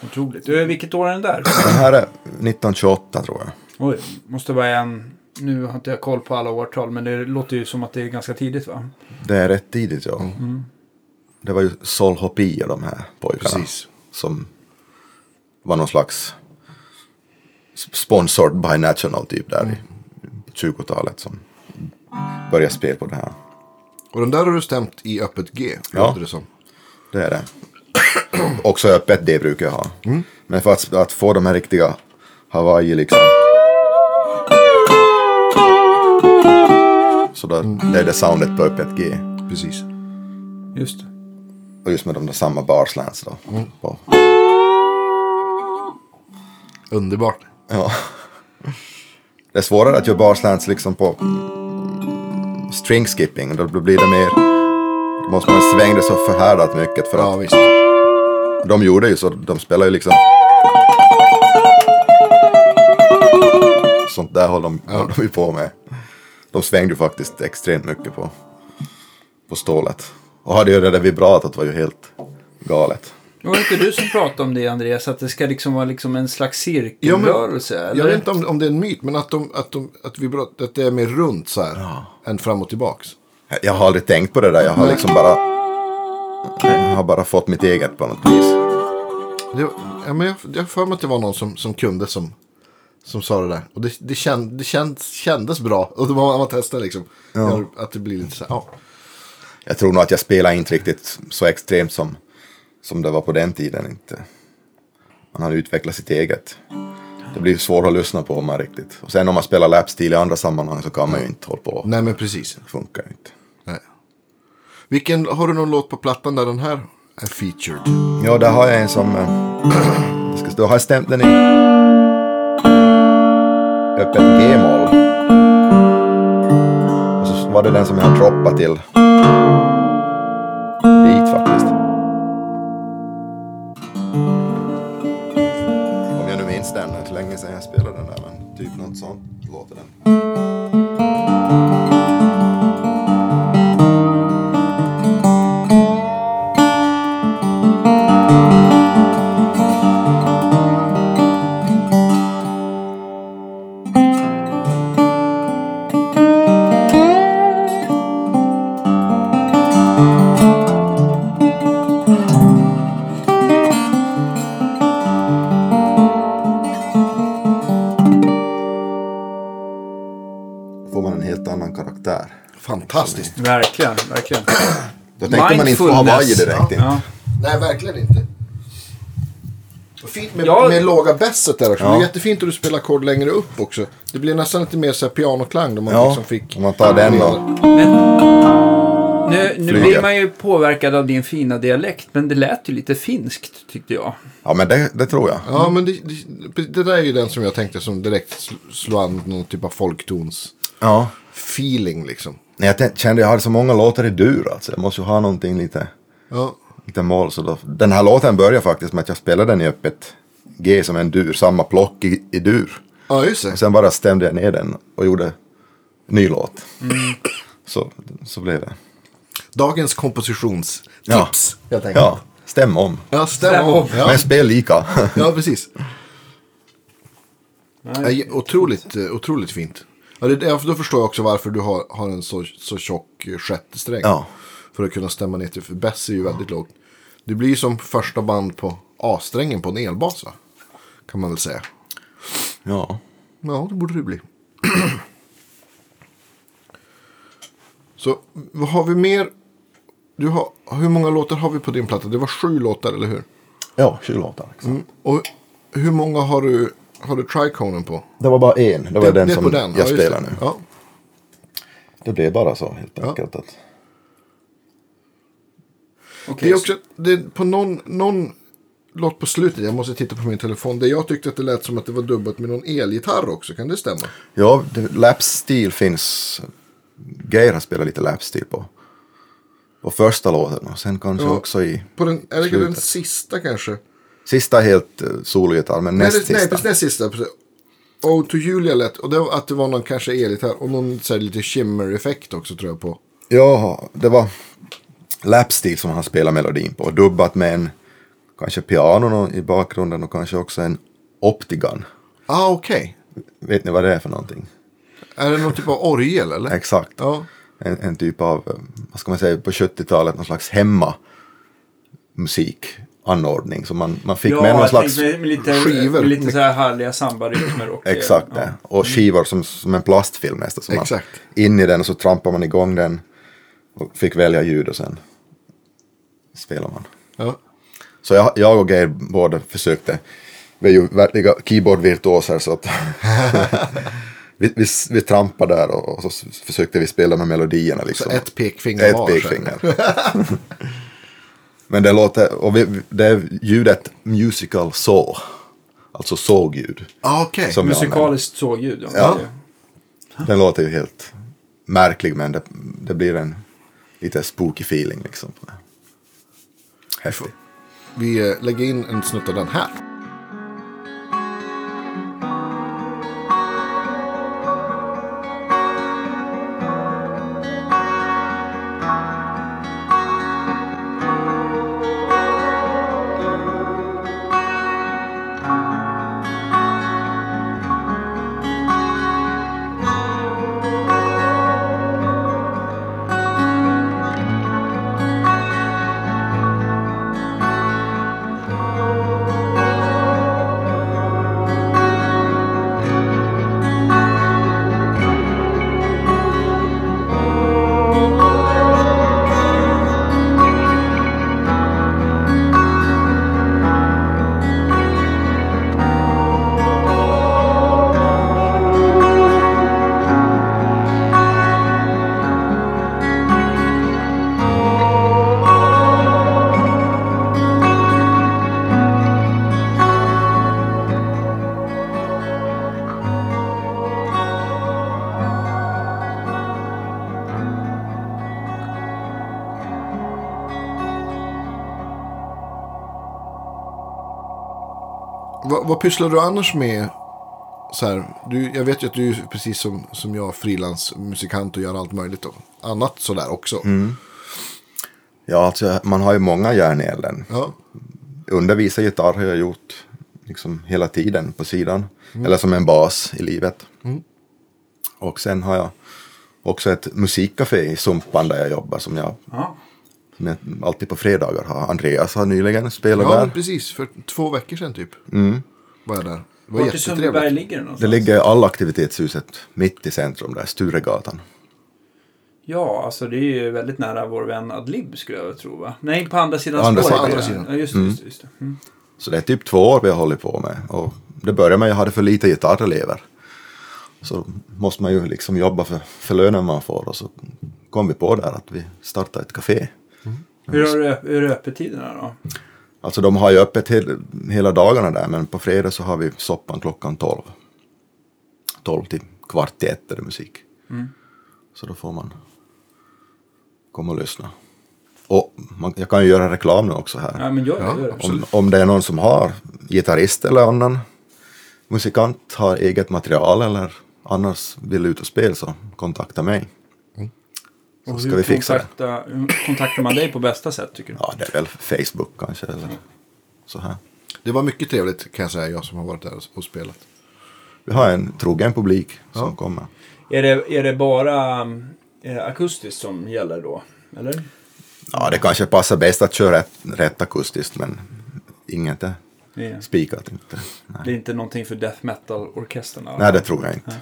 Ja, Otroligt. Du, vilket år är den där? Den här är 1928 tror jag. Oj, måste vara en... Nu har inte jag koll på alla årtal, men det låter ju som att det är ganska tidigt va? Det är rätt tidigt ja. Det var ju Sol Hopi och de här pojkarna. Precis. Som var någon slags sp- sponsored by National typ där i 20-talet som började spela på det här. Och den där har du stämt i öppet G. Ja. låter Det som. Det är det. Också öppet det brukar jag ha. Men för att, att få de här riktiga Hawaii liksom. Så då, det är det soundet på öppet G. Precis. Just det. Och just med de där samma barslans då. På. Underbart. Ja. Det är svårare att göra barslans liksom på string skipping. Då blir det mer... Då måste man svänga det så förhärdat mycket. För Ja, att visst. de gjorde ju så. De spelar ju liksom... Sånt där håller de, ja. de ju på med. De svängde ju faktiskt extremt mycket på, på stålet. Och hade ju det där vibratot var ju helt galet. Det var inte du som pratade om det Andreas, att det ska liksom vara liksom en slags cirkelrörelse? eller? Jag vet inte om, om det är en myt, men att, de, att, de, att, vi, bra- att det är mer runt så här. Än fram och tillbaks. Jag har aldrig tänkt på det där. Jag har liksom bara... Jag har bara fått mitt eget på något vis. Det, ja, men jag jag har för mig att det var någon som, som kunde som, som sa det där. Och det, det, känd, det känd, kändes bra. Och det var man testar liksom. Gör Att det blir lite så här. Ja. Jag tror nog att jag spelar inte riktigt så extremt som, som det var på den tiden. Inte. Man har utvecklat sitt eget. Det blir svårt att lyssna på man riktigt. Och sen om man spelar lapstil i andra sammanhang så kan man ju inte hålla på. Nej men precis. Det funkar inte. Nej. Vilken, har du någon låt på plattan där den här är featured? Ja, där har jag en som... eh, jag ska stå, har jag stämt den i... Öppet G-moll. Och så var det den som jag har droppat till. Dit faktiskt. Om jag nu minns den. Det är inte länge sedan jag spelade den där. Men typ något sånt låter den. Då får man en helt annan karaktär. Fantastiskt. Verkligen, verkligen. Då tänkte man inte på Mindfulness. Hawaii direkt. inte. Ja. Nej, verkligen inte. Och Fint med, Ja. med låga basset där också. Ja. Det är jättefint att du spelar ackord längre upp också. Det blir nästan lite mer så här pianoklang då man Ja, liksom fick... om man tar den och- Nu, nu Flyga. blir man ju påverkad av din fina dialekt, men det lät ju lite finskt tyckte jag. Ja, men det, det tror jag. Ja, men det, det, det där är ju den som jag tänkte som direkt sl- slår an någon typ av folktons Ja. feeling liksom. Nej, jag tän- kände jag hade så många låtar i dur alltså. Jag måste ju ha någonting lite, Ja, lite mål. Så då, den här låten börjar faktiskt med att jag spelade den i öppet G som en dur, samma plock i, i dur. ja just det. Och sen bara stämde jag ner den och gjorde ny låt. Mm. Så, så blev det. Dagens kompositionstips Ja. helt enkelt. Ja, stäm om. ja stäm Stäm om. om. Ja, Men spel lika. ja, precis. Nej, otroligt, eh, otroligt fint. Ja, det, ja, för då förstår jag också varför du har, har en så, så tjock eh, sjätte sträng. Ja. För att kunna stämma ner till, för bass är ju väldigt lågt. Det blir ju som första band på A-strängen på en elbas va? Kan man väl säga. ja. Ja, det borde det bli. Så vad har vi mer? Du har, hur många låtar har vi på din platta? Det var sju låtar, eller hur? Ja, sju låtar. Liksom. Och Hur många har du, har du triconen på? Det var bara en. Det var den det är som på den. jag just spelar det. nu. Ja. Det blev bara så helt Ja. enkelt. Att, Okej, Det är också det är på någon, någon låt på slutet, jag måste titta på min telefon, där jag tyckte att det lät som att det var dubbat med någon elgitarr också, kan det stämma? ja, det- lapstil finns. Geir har spelat lite lapstil på. På första låten och sen kanske Ja. också i. På den, är det den Slutet. sista kanske? Sista är helt eh, solgitarr men näst nej, det, nej, sista. precis näst sista. precis. Ode to Julia lät, och det var att det var någon kanske elgitarr och någon så här, lite shimmer-effekt också tror jag på. Ja, det var lapstil som han spelade melodin på. Dubbat med en kanske piano nå- i bakgrunden och kanske också en optigan. Ah, okej. Vet ni vad det är för någonting? Är det någon typ av orgel eller? Exakt. Ja. En, en typ av, eh, vad ska man säga, på 70-talet någon slags hemma musikanordning. Så man, man fick Ja, med någon jag slags, tänkte med lite, skivor. med lite så här härliga sambarytmer. Och, exakt Ja. det. Och skivor som, som en plastfilm nästan. Så man, Exakt. in i den och så trampar man igång den. Och fick välja ljud och sen spelar man. ja. Så jag, jag och Geir båda försökte. Vi är ju verkliga keyboardvirtuoser så att vi, vi, vi trampade där och, och så s- försökte vi spela med melodierna. Liksom. Så ett pekfinger Ett var, så här. pekfinger. Men det låter, och vi, det är ljudet musical saw. Alltså sågljud. Ah, okej. Som- Musikaliskt sågljud. Ja. Ja. Den låter ju helt märklig men det, det blir en lite spooky feeling liksom. Häftigt. Vi eh, lägger in en snutt av den här. Va, vad pysslar du annars med? Så här, du, jag vet ju att du är precis som, som jag frilansmusikant och gör allt möjligt och annat sådär också. Ja, alltså, man har ju många järn i elden. Ja. undervisa gitarr har jag gjort liksom hela tiden på sidan. Mm. Eller som en bas i livet. Och sen har jag också ett musikcafé i Sumpan där jag jobbar som jag, Ja. som jag alltid på fredagar har. Andreas har nyligen spelat Ja, men där. precis. För två veckor sedan typ. Var jag där. Det var Vart i Sundbyberg jättetrevligt. ligger det Det någonstans? ligger alla aktivitetshuset mitt i centrum där, Sturegatan. Ja, alltså det är ju väldigt nära vår vän Adlib skulle jag tro va? Nej, på andra sidan Andra spåret. sidan, är andra det. sidan. Ja, just det. Just det, just det. Mm. Så det är typ två år vi har hållit på med. Och det började med att jag hade för lite gitarrelever. Så måste man ju liksom jobba för, för lönen man får. Och så kom vi på där att vi startar ett café. Hur, har, du- hur är öppettiderna då? Alltså de har ju öppet hel, hela dagarna där men på fredag så har vi soppan klockan 12. 12 till kvart i ett är det musik. Så då får man komma och lyssna. Och man, jag kan ju göra reklam nu också här. Ja, men gör det. Ja, gör det. om, om det är någon som har gitarrist eller annan musikant har eget material eller annars vill ut och spela så kontakta mig. Och ska hur vi fixa det. kontakta, Hur kontaktar man dig på bästa sätt tycker du? Ja, det är väl Facebook kanske eller så här. Det var mycket trevligt kan jag säga, jag som har varit där och spelat. Vi har en trogen publik som kommer. Är det, är det bara eh, akustiskt som gäller då? Eller? Ja, det kanske passar bäst att köra rätt, rätt akustiskt, men inget är Det är, spikat. Inte. Nej. det är inte någonting för death metal-orkestern? va? Nej, det tror jag inte.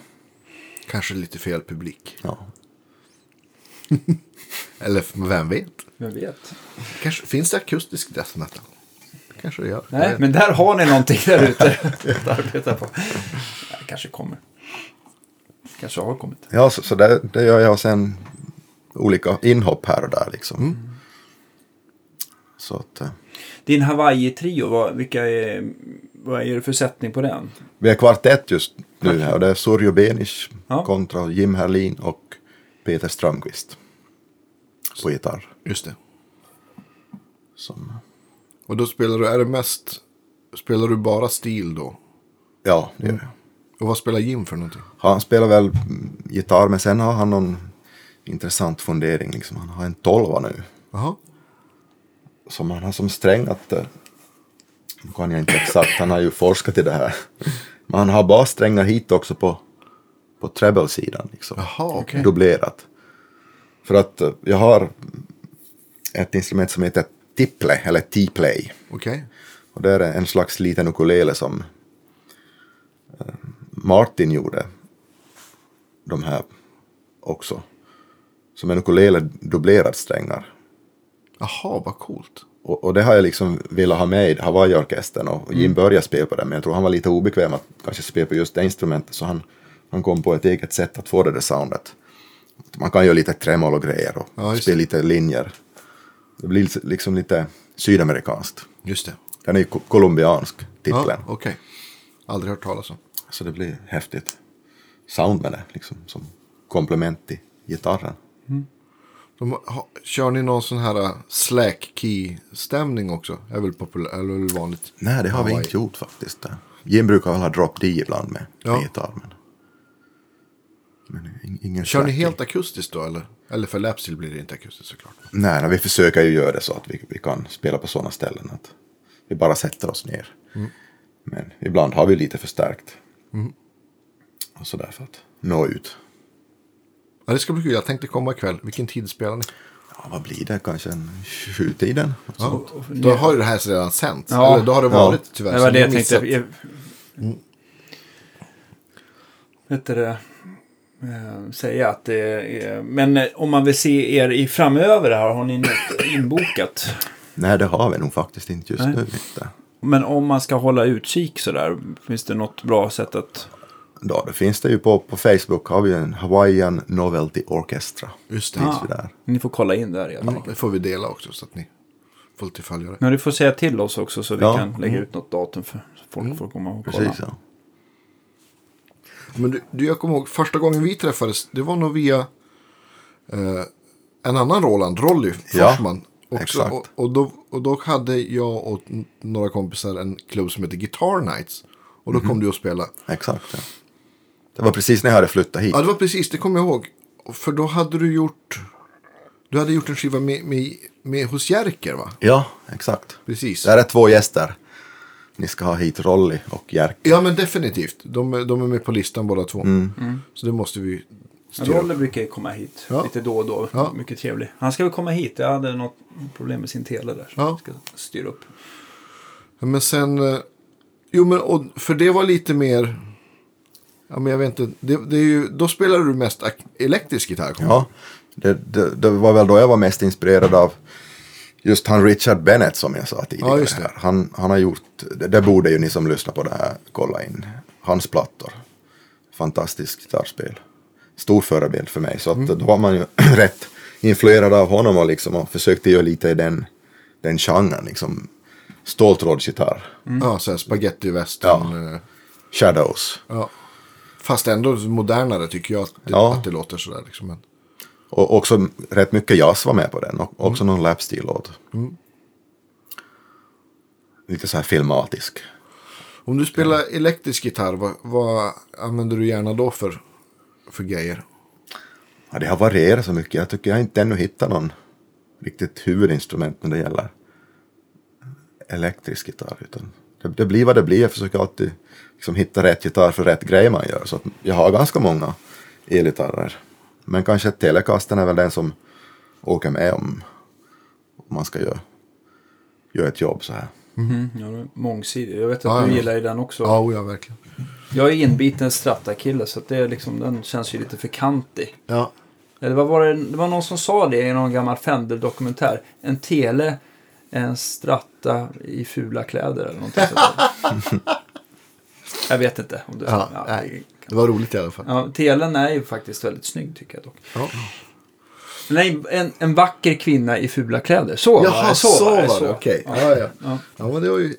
Kanske lite fel publik. Ja. Eller vem vet? Vem vet? Kanske, finns det akustisk death metal? kanske det gör. Nej, men där har ni någonting där ute att arbeta på. Ja, det kanske kommer. Kanske har kommit. Ja, så, så det, det gör jag och sen olika inhopp här och där liksom. Så att eh, Din Hawaii-trio, vad, vilka är, vad är det för sättning på den? vi är kvartett just nu här och det är Surjo Benish Ja. kontra Jim Herlin och Peter Strömqvist på gitarr. Just det. Som, Och då spelar du, är det mest, spelar du bara stil då? ja, det gör jag. Och vad spelar Jim för någonting? Han spelar väl mm, gitarr men sen har han någon intressant fundering. Liksom. Han har en tolva nu Jaha. som han har som sträng att... eh, Nu kan jag inte exakt, han har ju forskat i det här. Men han har bara strängar hit också på, på treble-sidan. Liksom. Jaha, okej. Dubblerat. För att eh, jag har ett instrument som heter tiple eller T-play. Okej. Och det är en slags liten ukulele som eh, Martin gjorde. De här också. Som en ukulele dubblerad strängar. Jaha, vad coolt. Och, och det har jag liksom velat ha med i Hawaii-orkestern och Mm. Jim började spela på den men jag tror han var lite obekväm att kanske spela på just det instrumentet så han, han kom på ett eget sätt att få det där soundet. Man kan göra lite tremolo och grejer och Ja, just spela lite linjer. Det blir liksom lite sydamerikanskt. Just det. Den är ju ko- colombiansk, titeln. Ja, okej. Aldrig hört talas om. Så det blir häftigt sound med det, liksom, som komplement till gitarren. De, ha, kör ni någon sån här äh, slack key stämning också? Är väl populär, eller väl vanligt? Nej, det har vi Hawaii. inte gjort faktiskt. Jim brukar väl ha drop D ibland med, Ja. med gitarr. Men, men in- ingen Kör ni slack. helt akustiskt då eller? Eller för lapsteel blir det inte akustiskt såklart. Nej, nej, vi försöker ju göra det så att vi, vi kan spela på sådana ställen. att Vi bara sätter oss ner. Mm. Men ibland har vi lite förstärkt. Och sådär för att nå ut. Ja, det ska bli kul. Jag tänkte komma ikväll. Vilken tid spelar ni? Ja, vad blir det? Kanske en sjutiden? Alltså, Ja. Då har ju det här redan sänts. Ja. Eller då har det Ja. varit tyvärr. Det så var det ni jag har tänkte. missat. Jag... Mm. Vet du det? Eh, Säga att det är... Men eh, om man vill se er i framöver här, har ni något inbokat? Nej, det har vi nog faktiskt inte just Nej. nu. Inte. Men om man ska hålla utkik sådär, finns det något bra sätt att... Ja, det finns det ju på, på Facebook. har vi en Hawaiian Novelty Orchestra. Just det. Finns vi där. Ni får kolla in där helt Mm, enkelt. Det får vi dela också så att ni får lite följare. Men du får säga till oss också så vi Ja. Mm. kan lägga ut något datum för så folk får komma och kolla. Precis, ja. Men du, du, jag kommer ihåg första gången vi träffades. Det var nog via eh, en annan Roland, Rolly Ja, Forsman. också. exakt. Och, och, då, och då hade jag och n- några kompisar en klubb som heter Guitar Nights. Och Mhm. då kom du och spelade. Exakt, ja. Det var precis när jag hade flyttat hit. Ja, det var precis, det kommer jag ihåg. För då hade du gjort... Du hade gjort en skiva med, med, med hos Jerker va? Ja, exakt. Precis. Där är två gäster. Ni ska ha hit Rolly och Jerk. Ja men definitivt. De, är- de är med på listan båda två. Mm. Så det måste vi styra upp. Rolle brukar ju komma hit Ja. lite då och då. Ja. Mycket trevlig. Han ska väl komma hit. Jag hade något problem med sin tele där. Så Ja. jag ska styra upp. Men sen... eh, Jo, men och, för det var lite mer... Ja, men jag vet inte. Det, det är ju, då spelade du mest ak- elektrisk gitarr. kommer jag Ja, det, det, det var väl då jag var mest inspirerad av just han Richard Bennett som jag sa tidigare. Ja, just det. här. Han, han har gjort, det, det borde ju ni som lyssnar på det här kolla in, hans plattor. Fantastiskt gitarrspel. Stor förebild för mig, så att Mm. då var man ju rätt influerad av honom och, liksom, och försökte göra lite i den, den genren. Liksom, Ståltrådsgitarr, ihåg. Ja, så här spaghetti western. eh, Shadows. Ja. Fast ändå modernare tycker jag att det, Ja. att det låter sådär. Liksom. Men, Och också rätt mycket jazz var med på den. Och också någon lapsteel-låt. Lite så här filmatisk. om du spelar elektrisk gitarr, vad, vad använder du gärna då för, för grejer? Ja, det har varierat så mycket. Jag tycker jag inte ännu hittat någon riktigt huvudinstrument när det gäller elektrisk gitarr. Utan det, det blir vad det blir. Jag försöker alltid liksom hitta rätt gitarr för rätt grej man gör. Så att jag har ganska många elgitarrer. Men kanske Telecasten är väl den som åker med om, om man ska göra, göra ett jobb så här. Mm, ja, det är mångsidig. Jag vet att Mhm. Ja, du ja. gillar ju den också. Ja, oh, ja verkligen. Jag är inbiten Strata-kille så att det är liksom, den känns ju lite för kantig. Ja. Eller vad var det? det var någon som sa det i någon gammal Fender-dokumentär. En tele en stratta i fula kläder eller någonting sånt. där. jag vet inte. Om det, Ja, ja, nej. Det var roligt i alla fall. ja, telen är ju faktiskt väldigt snygg tycker jag dock. Ja. Nej, en, en vacker kvinna i fula kläder. Så var Jaha, det. så, var det, var det. Okej. Ja, ja. Ja. ja, men det var ju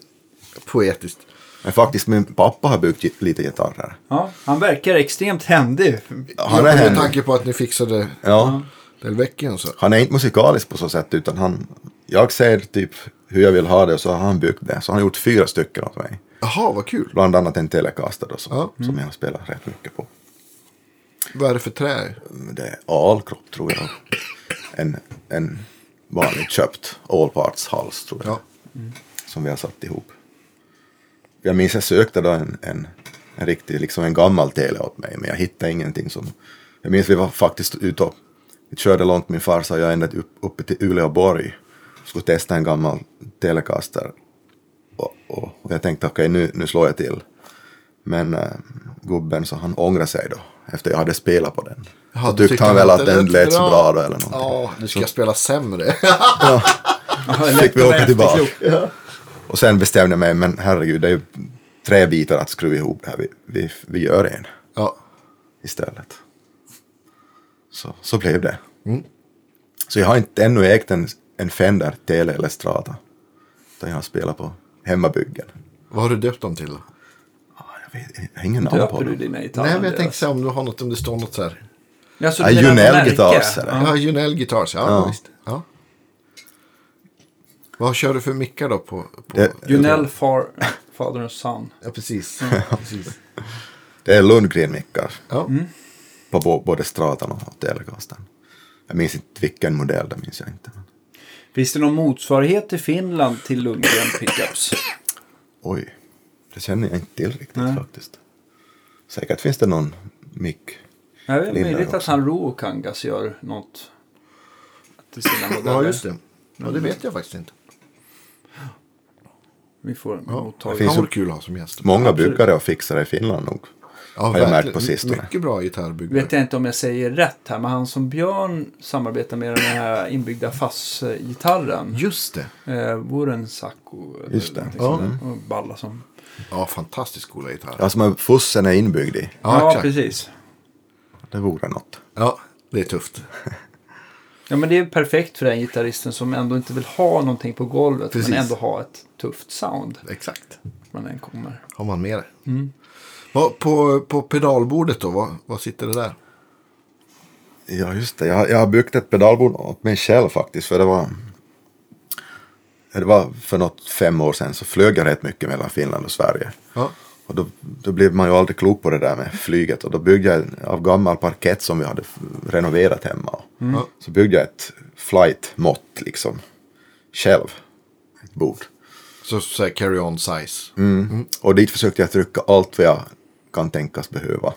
poetiskt. Men faktiskt, min pappa har byggt gi- lite gitarrer. Ja, han verkar extremt händig. Han ja, är med händig. tanke på att ni fixade Ja. Delvecchion så. Han är inte musikalisk på så sätt, utan han... Jag säger typ hur jag vill ha det och så har han byggt det. Så han har gjort fyra stycken åt mig. Jaha, vad kul. Bland annat en Telecaster då, som, Ja. Mm. som jag har spelat rätt mycket på. Vad är det för trä? Det är alkropp tror jag. En, en vanligt köpt all parts hals tror jag. Ja. Som vi har satt ihop. Jag minns jag sökte då en, en, en riktig, liksom en gammal tele åt mig. Men jag hittade ingenting som... Jag minns vi var faktiskt ute och vi körde långt min farsa och jag ända upp, uppe till Uleåborg. Skulle testa en gammal telecaster. Och, och, och jag tänkte okej nu, nu slår jag till. Men eh, gubben så han ångrade sig då. Efter jag hade spelat på den. Jaha, så tyckte han väl att den lät så bra då eller någonting. Ja, nu ska jag spela sämre. Fick vi åka tillbaka. Efterklok. Och sen bestämde jag mig, men herregud, det är ju tre bitar att skruva ihop det här. Vi, vi, vi gör en ja. istället. Så, så blev det. Mm. Så jag har inte ännu ägt en, en Fender, Tele eller Strata. Utan jag har spelat på hemmabyggen. Vad har du döpt dem till då? Ja, Jag, vet, jag har ingen namn på Döper du det. dina gitarrer? Nej, men jag Andreas? tänkte säga om du har något, om det står något så här. Alltså, Ja, du menar Junell märke? Guitars är det. Ja. Ja, Junell Guitars, ja, Ja. visst. Ja. Vad kör du för mickar då på? på... det. Junell far, Father and Son. Ja, precis. precis. Det är Lundgren-mickar Ja. på bo, både Stratan och Telecasten. Jag minns inte vilken modell, det minns jag inte. Men, Finns det någon motsvarighet i Finland till Lundgren Pickups? oj, det känner jag inte till riktigt Nej. faktiskt. Säkert finns det någon mick. Det är Lindberg möjligt att också. han Ruokangas gör något till sina modeller. ja, just det. Ja, det vet jag faktiskt inte. Vi får Det mottag. finns finns ju- vore kul att ha som gäst. Många Absolut. byggare och fixare i Finland nog. Ja, har jag verkligen. märkt på sistone. Mycket bra gitarrbyggare. Vet jag inte om jag säger rätt här, men han som Björn samarbetar med den här inbyggda fass-gitarren. Just det. Eh, Vorensaku. eller Just det. Mm. någonting sånt där. Och Balla som. Ja, fantastiskt coola gitarrer. Ja, som är- fussen är inbyggd i. Ja, Ja, exakt. precis. Det vore något. Ja, det är tufft. Ja, men det är perfekt för den gitarristen som ändå inte vill ha någonting på golvet. Precis. Men ändå ha ett tufft sound. Exakt. När den kommer. Har man med det. Vad- På, på pedalbordet då, vad, vad sitter det där? Ja, just det. Jag, har- jag har byggt ett pedalbord åt mig själv faktiskt. För det var, det var för något fem år sedan så flög jag rätt mycket mellan Finland och Sverige. Ja. Och då, då blev man ju aldrig klok på det där med flyget. Och då byggde jag en- av gammal parkett som vi hade f- renoverat hemma. Ja. Så byggde jag ett flight-mått liksom. Själv. Ett bord. Så, så här carry-on size. Mm. Och dit försökte jag trycka allt vad jag kan tänkas behöva.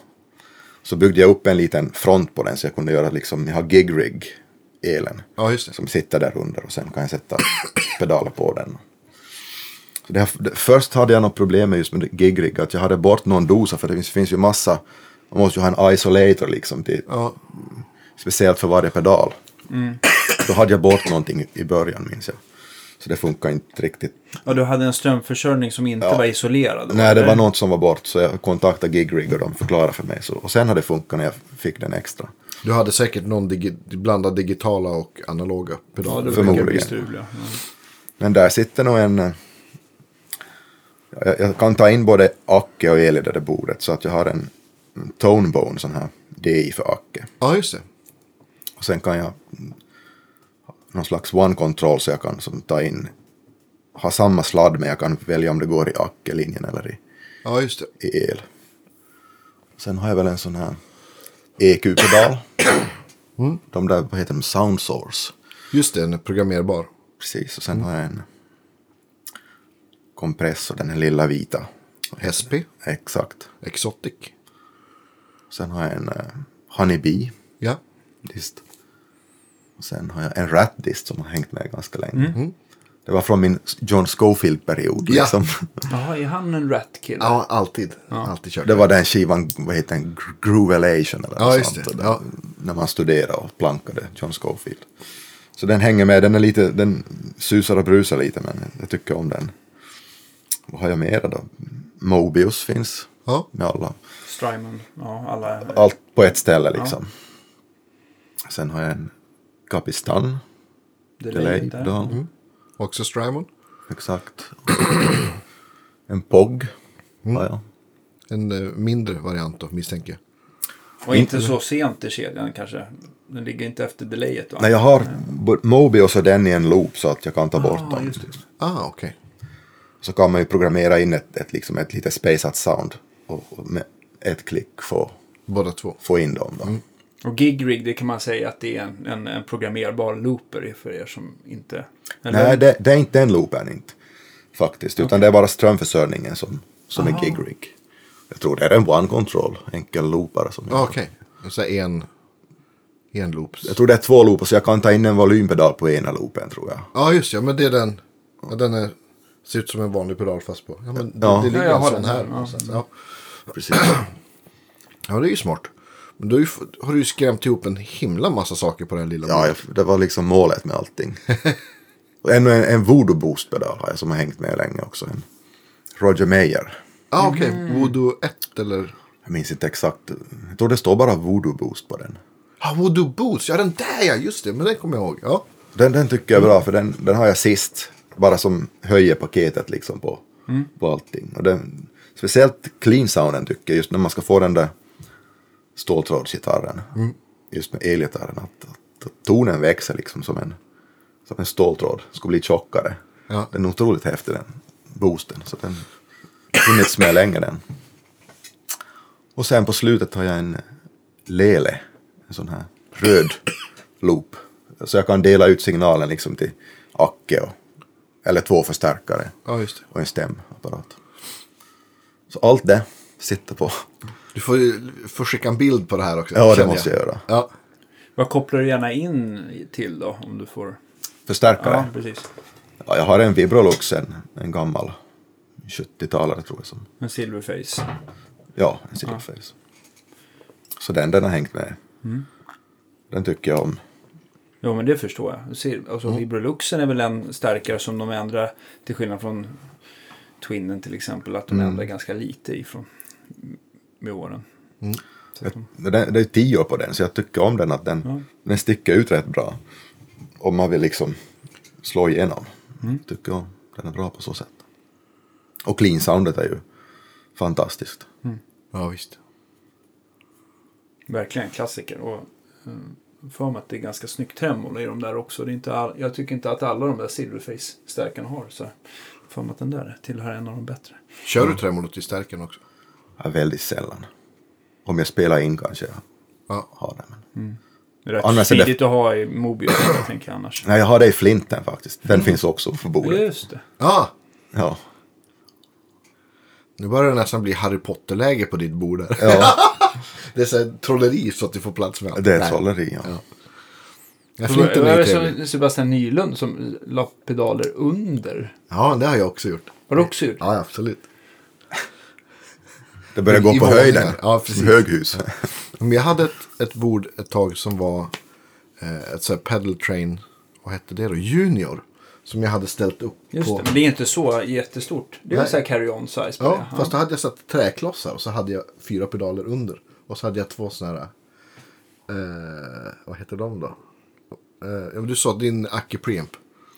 Så byggde jag upp en liten front på den så jag kunde göra liksom, jag har gigrig elen Ja, just det. som sitter där under och sen kan jag sätta pedaler på den. Så det här, det, först hade jag något problem med just med gigrig, att jag hade bort någon dosa för det finns, finns ju massa, man måste ju ha en isolator liksom till, Ja, speciellt för varje pedal. Då hade jag bort någonting i början minns jag. Så det funkar inte riktigt Ja, du hade en strömförsörjning som inte var isolerad. Nej, det eller? var något som var bort så jag kontaktade Gigrig och de förklarade för mig. Så, och sen har det funkat när jag fick den extra. Du hade säkert någon digi- blandad digitala och analoga Ja, pedaler. det förmodligen. brukar bli strul, ja. Mm. Men där sitter nog en... eh, Jag, jag kan ta in både Acke och el i det där bordet så att jag har en en Tonebone sån här DI för Acke. Ja, just det. Och sen kan jag mm, ha någon slags one control så jag kan som ta in ha samma sladd men jag kan välja om det går i Acke-linjen eller i, Ja, just det. i el. Sen har jag väl en sån här EQ-pedal. De där, vad heter de, Sound Source. Just det, en programmerbar. Precis, och sen har jag en kompressor, den här lilla vita. SP, Exakt. Exotic. Sen har jag en eh, Honeybee Ja, dist. Och sen har jag en Rat dist som har hängt med ganska länge. Det var från min John Scofield-period. Ja. Liksom. Jaha, är han en rat kille? ja alltid. Alltid kört. Det var den skivan, vad heter den, Gro- Groovelation eller Ja, något just sånt. det. Och den- Ja. När man studerade och plankade John Scofield. Så den hänger med, den är lite, den susar och brusar lite men jag tycker om den. Vad har jag mera då? Mobius finns Ja. med alla. Strymon. Ja, alla. Allt på ett ställe liksom. Sen har jag en Kapistan. Delay. där. Då. Mm. Också Strymon. Exakt. en POG. Mm. har jag. En eh, mindre variant då, misstänker jag. Och inte så sent i kedjan kanske. Den ligger inte efter delayet va? Nej, jag har bo- Mobius och den i en loop så att jag kan ta bort dem. Ah, okej. Så kan man ju programmera in ett, ett, liksom ett lite spaceat sound. Och, och med ett klick få, Båda två. få in dem då. Och gigrig det kan man säga att det är en, en, en programmerbar looper för er som inte... Eller? Nej, det, det är inte den loopen inte. Faktiskt, utan det är bara strömförsörjningen som, som är gig rig. Jag tror det är en one control, enkel loopare. Som jag, Ah, okej. Så en... En loops. jag tror det är två loopar så jag kan ta in en volympedal på ena loopen tror jag. Ja, just ja, men det är den. Ja, den är, ser ut som en vanlig pedal fast på. Ja, men det, Ja. det ligger Ja, jag en har sån den här. här, ja. någonstans. Ja. Precis. ja, det är ju smart. Men då är ju, har du ju skrämt ihop en himla massa saker på den lilla. Ja, jag, det var liksom målet med allting. Och ännu en, en voodoo boost pedal har jag som har hängt med länge också. En Roger Mayer. ah, okej. Mm. Voodoo 1 eller? Jag minns inte exakt. Jag tror det står bara voodoo boost på den. Ah, Voodoo Boost. Ja, den där ja. Just det, men den kommer jag ihåg. Ja, Den, den tycker jag är bra för den, den har jag sist. Bara som höjer paketet liksom på, på allting. Och den, speciellt clean sounden tycker jag just när man ska få den där ståltrådsgitarren. Just med elgitarren. Att, att, att tonen växer liksom som en, som en ståltråd. Ska bli tjockare. Ja. Den är otroligt häftig den boosten. Så den har funnits med länge den. Och sen på slutet har jag en lele. En sån här röd loop. Så jag kan dela ut signalen liksom till Acke och, eller två förstärkare ja just det. och en stämapparat. Så allt det sitter på. Du får, ju- får skicka en bild på det här också. Ja, det känner måste jag göra. Ja, Vad kopplar du gärna in till då? Om du får... Ja, Förstärkare. precis. Ja, jag har en Vibrolux, en, en gammal 70-talare tror jag som. En silverface. Ja, en Silverface. Så den, den har hängt med. Den tycker jag om. Jo, men det förstår jag. Du ser, Alltså, Vibroluxen är väl en starkare som de ändrar, till skillnad från Twinnen till exempel, att de ändrar ganska lite ifrån med åren. Så att de- Men Det, det är tio år på den, så jag tycker om den att den, den sticker ut rätt bra. Om man vill liksom slå igenom. Mm. Tycker om den är bra på så sätt. Och clean soundet är ju fantastiskt. ja visst. Verkligen klassiker. Och mm, för mig att det är ganska snyggt tremolo i de där också. Det är inte all, jag tycker inte att alla de där Silverface-stärkarna har. Så för mig att den där tillhör en av de bättre. Kör du tremolot i stärken också? Ja, väldigt sällan. Om jag spelar in kanske jag Ja. har den. Men... Det är rätt Annars är det- tidigt att ha i Mobius, jag tänker jag annars. Nej, jag har det i flinten faktiskt. Den Mm. finns också på bordet. Just det. Ah, Ja. nu börjar det nästan bli Harry Potter-läge på ditt bord här. ja, Det är så här trolleri så att du får plats med allt. det är Nej. ett trolleri. Ja. Ja, Vad flinten är är ju det trevlig. som Sebastian Nylund som la pedaler under? Ja, det har jag också gjort. Har du också gjort? Ja, absolut. Det börjar I gå på våningar. höjden. Ja, precis. Som höghus. Men jag hade ett, ett bord ett tag som var eh, ett så här pedal train, vad hette det då? Junior. Som jag hade ställt upp Just på. det, men det är inte så jättestort. Det är Nej. väl så här carry-on size på Ja, det. Ja. fast då hade jag satt träklossar och så hade jag fyra pedaler under. Och så hade jag två sådana här, eh, vad heter de då? Eh, ja, men du sa din Aki Preamp.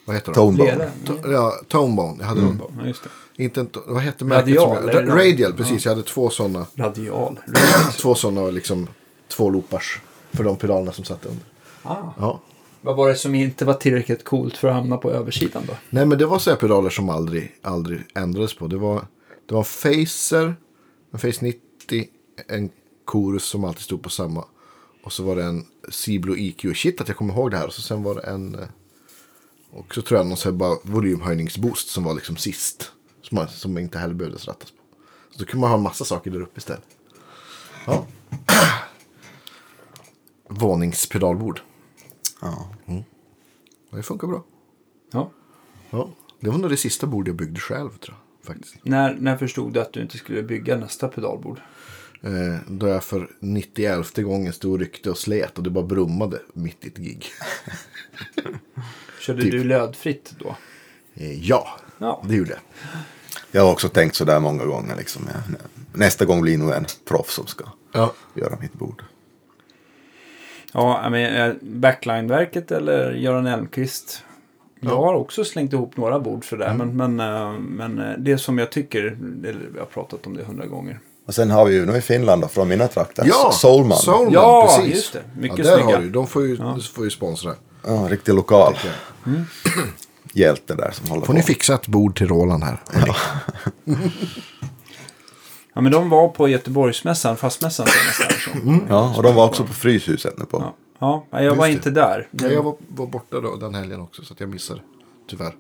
Vad heter de? Tonebone. Lera. To- ja, Tonebone. Jag hade dem. Ja, just det. Inte en, to- vad hette märket? Radial, som eller jag, någon- Radial, precis. Jag hade två sådana. Radial. Två sådana liksom två loopars för de pedalerna som satt under. Ah. Ja. Vad var det som inte var tillräckligt coolt för att hamna på översidan då? Nej men det var så här pedaler som aldrig, aldrig ändrades på. Det var, det var en Facer, en Face 90, en Chorus som alltid stod på samma. Och så var det en Ciblo IQ. Shit att jag kommer ihåg det här. Och så sen var det en... eh, Och så tror jag någon så här bara volymhöjningsboost som var liksom sist. Som, man, som inte heller behövdes rattas på. Så då kunde man ha en massa saker där uppe istället. Ja. Våningspedalbord. Ja. Och Det funkar bra. Ja. Ja, det var nog det sista bordet jag byggde själv tror jag. Faktiskt. När, när förstod du att du inte skulle bygga nästa pedalbord? Eh, då jag för 91 gången stod och ryckte och slet och det bara brummade mitt i ett gig. Körde Typ. du lödfritt då? Eh, ja, Ja. det gjorde jag. Jag har också tänkt sådär många gånger. Liksom. Jag, nästa gång blir nog en proffs som ska Ja. göra mitt bord. Ja, men eh, Backline-verket eller Göran Elmqvist. Jag har också slängt ihop några bord sådär. Men, men, eh, men eh, det som jag tycker, eller jag har pratat om det hundra gånger. Och sen har vi ju nu i Finland då, från mina trakter, Ja, Soulman. Soulman, Ja, precis. just det. Mycket där snygga. Har du, de får ju, får ju sponsra. Ja, riktig lokal hjälte där som håller på. Får ni fixa ett bord till Roland här? Ja. Ja, men de var på Göteborgsmässan, fastmässan senast. alltså. Ja, och de var också på Fryshuset nu på. Ja, ja jag var det. inte där. Nej, jag var, var borta då, den helgen också så att jag missade. Tyvärr.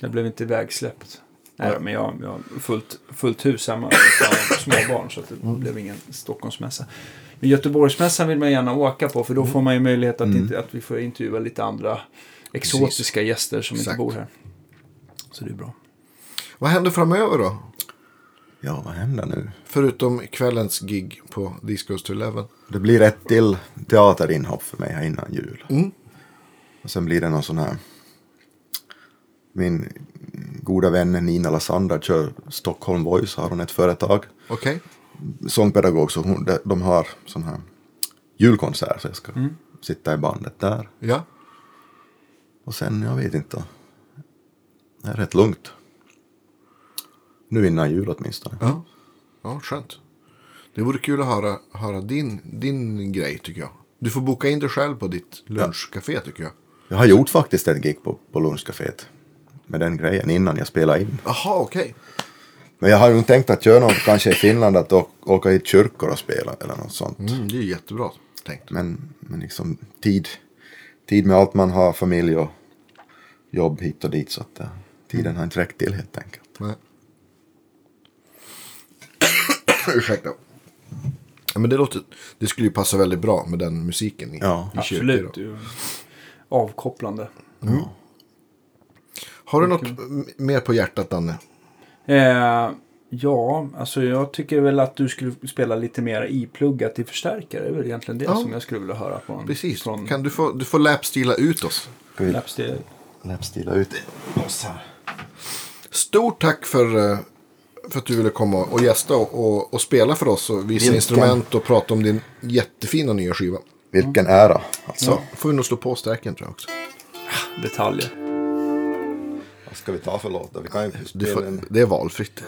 Jag blev inte ivägsläppt. Nej, men jag jag har fullt, fullt hus hemma. utan småbarn så att det Mm. blev ingen Stockholmsmässa. Men Göteborgsmässan vill man gärna åka på för då Mm. får man ju möjlighet att, inte, att vi får intervjua lite andra exotiska gäster som Exakt. inte bor här. Så det är bra. Vad händer framöver då? Ja, vad händer nu? Förutom kvällens gig på Discos to Eleven. Det blir ett till teaterinhopp för mig här innan jul. Och sen blir det någon sån här... Min goda vän Nina Lassander kör Stockholm Voice, har hon ett företag. Okej. Sångpedagog, så hon, de- de har sån här julkonsert så jag ska sitta i bandet där. Ja. Och sen, jag vet inte. Det är rätt lugnt. Nu innan jul åtminstone. Ja. Ja, skönt. Det vore kul att höra, höra din, din grej tycker jag. Du får boka in dig själv på ditt lunchcafé tycker jag. Jag har gjort faktiskt ett gig på, på Lunchcaféet. Med den grejen innan jag spelade in. Jaha, okej. Men jag har ju tänkt att göra något kanske i Finland. Att å- åka hit kyrkor och spela eller något sånt. Mm, det är jättebra tänkt. Men, men liksom tid. Tid med allt man har. Familj och jobb hit och dit. Så att eh, tiden har inte räckt till helt enkelt. Nej. Ursäkta. Ja, men det, låter, det skulle ju passa väldigt bra med den musiken i, Ja. i kyrkor. Absolut. det är ju Avkopplande. Har du något m- mer på hjärtat Danne? Eh, ja, alltså jag tycker väl att du skulle spela lite mer ipluggat i förstärkare. Det är väl egentligen det Ja. som jag skulle vilja höra från, Precis. från Kan du, få, du får lapstila ut oss. Ska vi Lapsteel. läppstila ut oss här? Stort tack för, eh, för att du ville komma och gästa och, och, och spela för oss och visa Vilken- instrument och prata om din jättefina nya skiva. Vilken ära. Alltså. Så får vi nog slå på sträcken tror jag också. detaljer. Vad ska vi ta för låt då? Vi kan ju Du spela får, en... det är valfritt.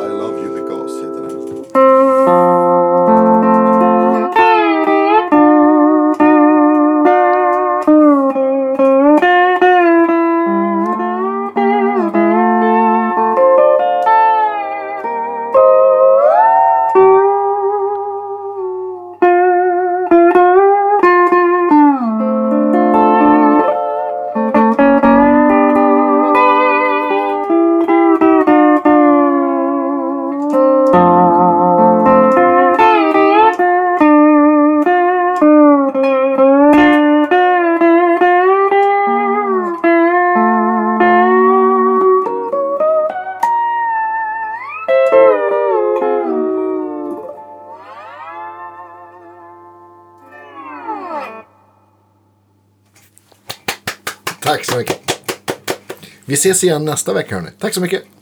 I love you because heter den. Tack så mycket. Vi ses igen nästa vecka hörni. Tack så mycket. Ha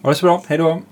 det så bra. Hej då.